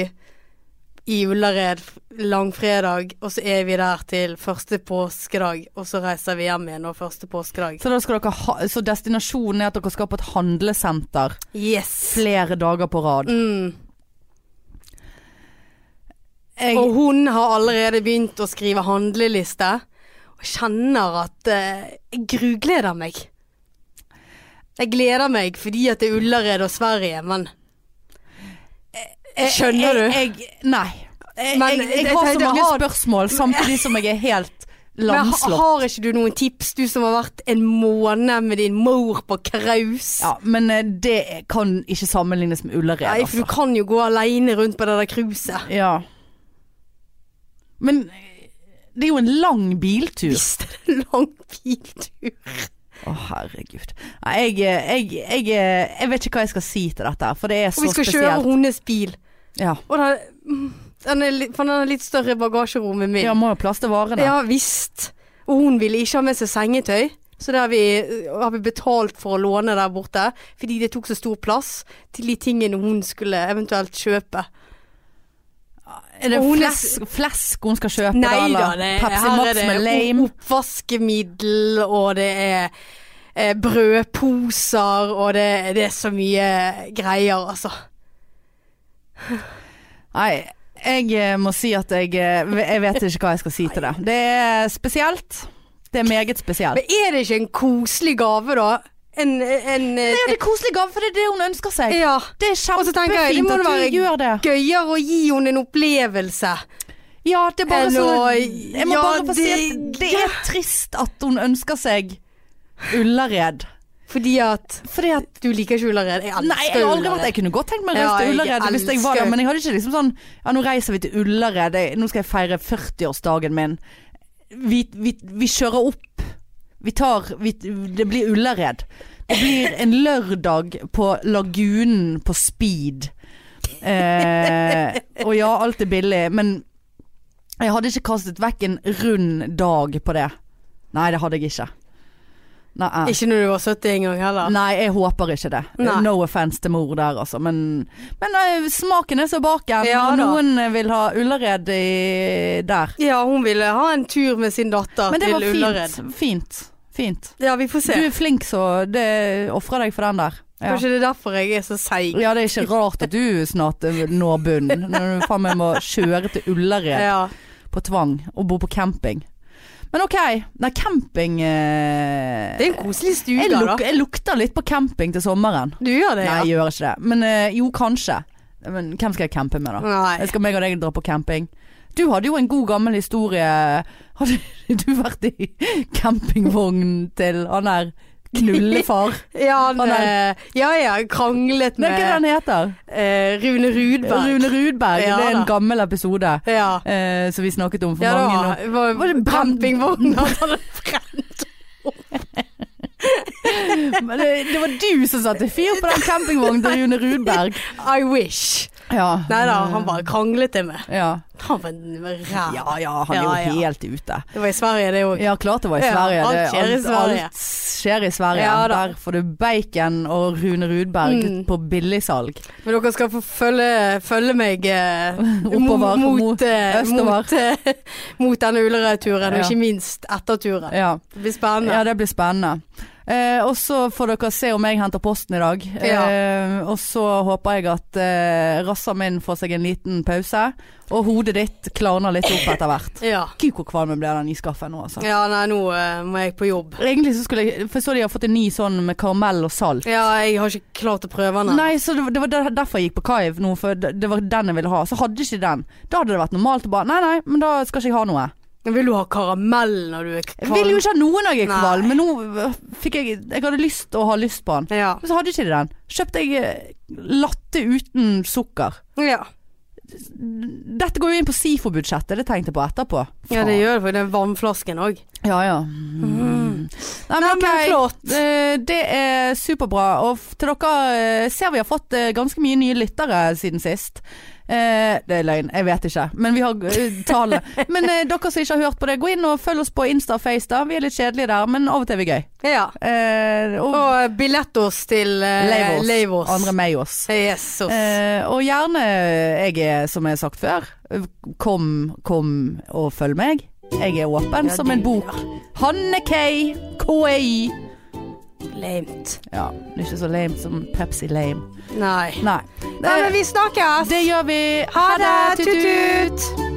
Speaker 2: i Ullared f- langfredag, og så er vi der til første påskedag, og så reiser vi hjem igjen nå første påskedag.
Speaker 1: Så, da skal dere ha, så destinasjonen er at dere skal på et handlesenter
Speaker 2: Yes!
Speaker 1: flere dager på rad.
Speaker 2: Mm.
Speaker 1: Jeg,
Speaker 2: Og hun har allerede begynt å skrive handleliste, og kjenner at eh, jeg grugleder meg. Jeg gleder meg fordi at det er Ullared og Sverige, men
Speaker 1: Eh,
Speaker 2: Skjønner du?
Speaker 1: Jeg, jeg, nei. Jeg,
Speaker 2: Men
Speaker 1: jeg, jeg
Speaker 2: Eh, jeg
Speaker 1: har så
Speaker 2: tenkte,
Speaker 1: mange
Speaker 2: har-
Speaker 1: spørsmål samtidig som jeg er helt
Speaker 2: Men
Speaker 1: lamslått.
Speaker 2: har ikke du noen tips, du som har vært en måned med din mor på kraus?
Speaker 1: Ja, men eh, det kan ikke sammenlignes med Ullared.
Speaker 2: Nei, for
Speaker 1: Altså.
Speaker 2: du kan jo gå aleine rundt på det der cruiset.
Speaker 1: Ja. Men eh, det er jo en lang biltur.
Speaker 2: Hvis det er en lang biltur.
Speaker 1: Å, herregud. Nei, jeg, eh, jeg, jeg, eh, jeg vet ikke hva jeg skal si til dette, her, for det er
Speaker 2: Og
Speaker 1: så
Speaker 2: vi skal kjøre
Speaker 1: spesielt.
Speaker 2: hennes bil.
Speaker 1: Ja.
Speaker 2: Og den, mm, den er litt, for den har litt større bagasjerom enn min.
Speaker 1: ja, må jo plass til varene.
Speaker 2: Ja, visst. Og hun ville ikke ha med seg sengetøy. Så det har vi, har vi betalt for å låne der borte, fordi det tok så stor plass til de tingene hun skulle eventuelt kjøpe.
Speaker 1: Er det
Speaker 2: Og hun er-
Speaker 1: flesk, flesk hun skal kjøpe, da?
Speaker 2: Nei da,
Speaker 1: Eller
Speaker 2: det,
Speaker 1: Pepsi
Speaker 2: her er
Speaker 1: Max
Speaker 2: det
Speaker 1: med lame?
Speaker 2: o- oppvaskemiddel, og det er eh, brødposer, og det, det er så mye greier, altså.
Speaker 1: Nei, jeg eh, må si at jeg, eh, jeg vet ikke hva jeg skal si til det. Det er spesielt. Det er meget spesielt.
Speaker 2: Men er det ikke en koselig gave, da? En, en,
Speaker 1: Det er
Speaker 2: en
Speaker 1: jo det koselige gave, for det er det hun ønsker seg.
Speaker 2: ja.
Speaker 1: Det er
Speaker 2: Og så tenker jeg, det
Speaker 1: kjempefint
Speaker 2: må
Speaker 1: at du
Speaker 2: det være
Speaker 1: gjør det.
Speaker 2: Gøyere å gi henne en opplevelse.
Speaker 1: Ja, det er bare
Speaker 2: Enn
Speaker 1: så
Speaker 2: å-
Speaker 1: Jeg må
Speaker 2: ja,
Speaker 1: bare få si
Speaker 2: det-
Speaker 1: at det er trist at hun ønsker seg Ullared.
Speaker 2: Fordi at
Speaker 1: Fordi at
Speaker 2: Du liker ikke Ullared. Jeg elsker
Speaker 1: Nei, jeg har aldri
Speaker 2: Ullared.
Speaker 1: vært Jeg kunne godt tenkt meg å
Speaker 2: Ja,
Speaker 1: reise til
Speaker 2: jeg
Speaker 1: Ullared hvis jeg var der,
Speaker 2: elsker-
Speaker 1: men jeg hadde ikke liksom sånn Ja, nå reiser vi til Ullared. jeg- Nå skal jeg feire 40-årsdagen min. Vi, vi, vi kjører opp. Vi tar vi, Det blir Ullared. Det blir en lørdag på Lagunen på speed. Eh, og ja, alt er billig, men jeg hadde ikke kastet vekk en rund dag på det. Nei, det hadde jeg ikke. Nei, eh.
Speaker 2: Ikke når du var 70 en gang heller.
Speaker 1: Nei, jeg håper ikke det.
Speaker 2: Nei.
Speaker 1: No offense til mor der, altså. Men, men eh, smaken er så baken.
Speaker 2: Ja
Speaker 1: og
Speaker 2: da.
Speaker 1: noen eh, vil ha Ullared i, der.
Speaker 2: Ja, hun ville ha en tur med sin datter
Speaker 1: Men det
Speaker 2: til
Speaker 1: var
Speaker 2: Ullared.
Speaker 1: fint. Fint. fint.
Speaker 2: Ja, vi får se.
Speaker 1: Du er flink, så det ofrer deg for den der. Ja.
Speaker 2: Kanskje det er derfor jeg er så seig.
Speaker 1: ja, det er ikke rart at du snart eh, når bunnen. Når du faen meg må kjøre til Ullared
Speaker 2: Ja.
Speaker 1: på tvang og bo på camping. Men OK. Nei, camping eh,
Speaker 2: Det er en koselig
Speaker 1: jeg,
Speaker 2: stuga,
Speaker 1: luk
Speaker 2: da.
Speaker 1: jeg lukter litt på camping til sommeren.
Speaker 2: Du gjør
Speaker 1: Nei,
Speaker 2: det, ja?
Speaker 1: jeg gjør ikke det. Men eh, jo, kanskje. Men hvem skal jeg campe med, da?
Speaker 2: Nei.
Speaker 1: Jeg skal meg og deg dra på camping. Du hadde jo en god gammel historie. Hadde du vært i campingvognen til han der knullefar?
Speaker 2: Ja,
Speaker 1: Å,
Speaker 2: han, eh, ja, ja, kranglet
Speaker 1: Nei, hva er det
Speaker 2: med
Speaker 1: han heter?
Speaker 2: eh, Rune Rudberg.
Speaker 1: Rune Rudberg.
Speaker 2: Ja,
Speaker 1: det er
Speaker 2: da.
Speaker 1: en gammel episode
Speaker 2: Ja.
Speaker 1: eh, som vi snakket om for
Speaker 2: ja, det
Speaker 1: mange
Speaker 2: var,
Speaker 1: år.
Speaker 2: det var,
Speaker 1: Var det brent-
Speaker 2: campingvognen han hadde brent.
Speaker 1: Men det, det var du som satte fyr på den campingvognen til Rune Rudberg.
Speaker 2: I wish.
Speaker 1: Ja.
Speaker 2: Nei da, han bare kranglet det med.
Speaker 1: Ja.
Speaker 2: Han var en ræv.
Speaker 1: ja ja, han er jo
Speaker 2: Ja, ja.
Speaker 1: helt ute.
Speaker 2: Det var i Sverige, det òg.
Speaker 1: Ja, klart det var i
Speaker 2: Ja,
Speaker 1: Sverige.
Speaker 2: alt
Speaker 1: Det-
Speaker 2: skjer i Sverige.
Speaker 1: Alt skjer i Sverige.
Speaker 2: Ja, da.
Speaker 1: Der får du bacon og Rune Rudberg
Speaker 2: Mm.
Speaker 1: på billigsalg.
Speaker 2: Men dere skal få følge, følge meg eh,
Speaker 1: Oppover,
Speaker 2: mot,
Speaker 1: mot-
Speaker 2: eh,
Speaker 1: østover.
Speaker 2: mot, eh, mot denne Ullerøy-turen,
Speaker 1: Ja.
Speaker 2: og ikke minst etter turen.
Speaker 1: Ja.
Speaker 2: Det blir spennende.
Speaker 1: ja, det blir spennende. Eh, og så får dere se om jeg henter posten i dag.
Speaker 2: Ja.
Speaker 1: Eh, og så håper jeg at eh, rassa min får seg en liten pause, og hodet ditt klarner litt opp etter hvert.
Speaker 2: Ja.
Speaker 1: Gud hvor kvalm jeg ble av den iskaffen nå, altså.
Speaker 2: ja, nei, nå eh, må jeg på jobb.
Speaker 1: Egentlig så skulle jeg For jeg så de har fått en ny sånn med karamell og salt.
Speaker 2: Ja, jeg har ikke klart å prøve den.
Speaker 1: Nei, så det var, det var der- derfor jeg gikk på Kaiv nå, for det det var den jeg ville ha. Så hadde ikke den. Da hadde det vært normalt å bare Nei, nei, men da skal ikke jeg ha noe.
Speaker 2: Vil du ha karamell når du er
Speaker 1: Jeg ville jo ikke ha noe når jeg er
Speaker 2: Nei.
Speaker 1: kvalm, men nå øh, fikk jeg Jeg hadde lyst å ha lyst på den.
Speaker 2: Ja.
Speaker 1: Men så hadde ikke de den. Kjøpte jeg eh, latte uten sukker.
Speaker 2: ja.
Speaker 1: Dette går jo inn på SIFO-budsjettet, det tenkte jeg på etterpå.
Speaker 2: Ja, det gjør det, for det er vannflasken òg.
Speaker 1: Ja, ja. Mm. Nei, men
Speaker 2: Nei,
Speaker 1: ok.
Speaker 2: men flott.
Speaker 1: Eh, Det er superbra. Og f- til dere eh, ser vi har fått eh, ganske mye nye lyttere siden sist. Eh, Det er løgn, jeg vet ikke. Men vi har eh, tallene. Men eh, dere som ikke har hørt på det, gå inn og følg oss på Insta og Face. da. Vi er litt kjedelige der, men av og til er vi gøy.
Speaker 2: Ja.
Speaker 1: Eh, Og
Speaker 2: Og eh, billett oss til eh,
Speaker 1: Leivås.
Speaker 2: Leivås.
Speaker 1: Andre med oss.
Speaker 2: Yes, oss.
Speaker 1: Eh, og gjerne, eh, jeg er som jeg har sagt før, kom, kom og følg meg. Jeg er åpen
Speaker 2: Ja,
Speaker 1: som en
Speaker 2: du,
Speaker 1: bok. Hanne K. E KI.
Speaker 2: Lamet.
Speaker 1: Ja, det er ikke så lame som Pepsi lame.
Speaker 2: Nei.
Speaker 1: Nei.
Speaker 2: Nei, men
Speaker 1: Det,
Speaker 2: vi snakkes!
Speaker 1: det gjør vi.
Speaker 2: Ha det! Tut-tut!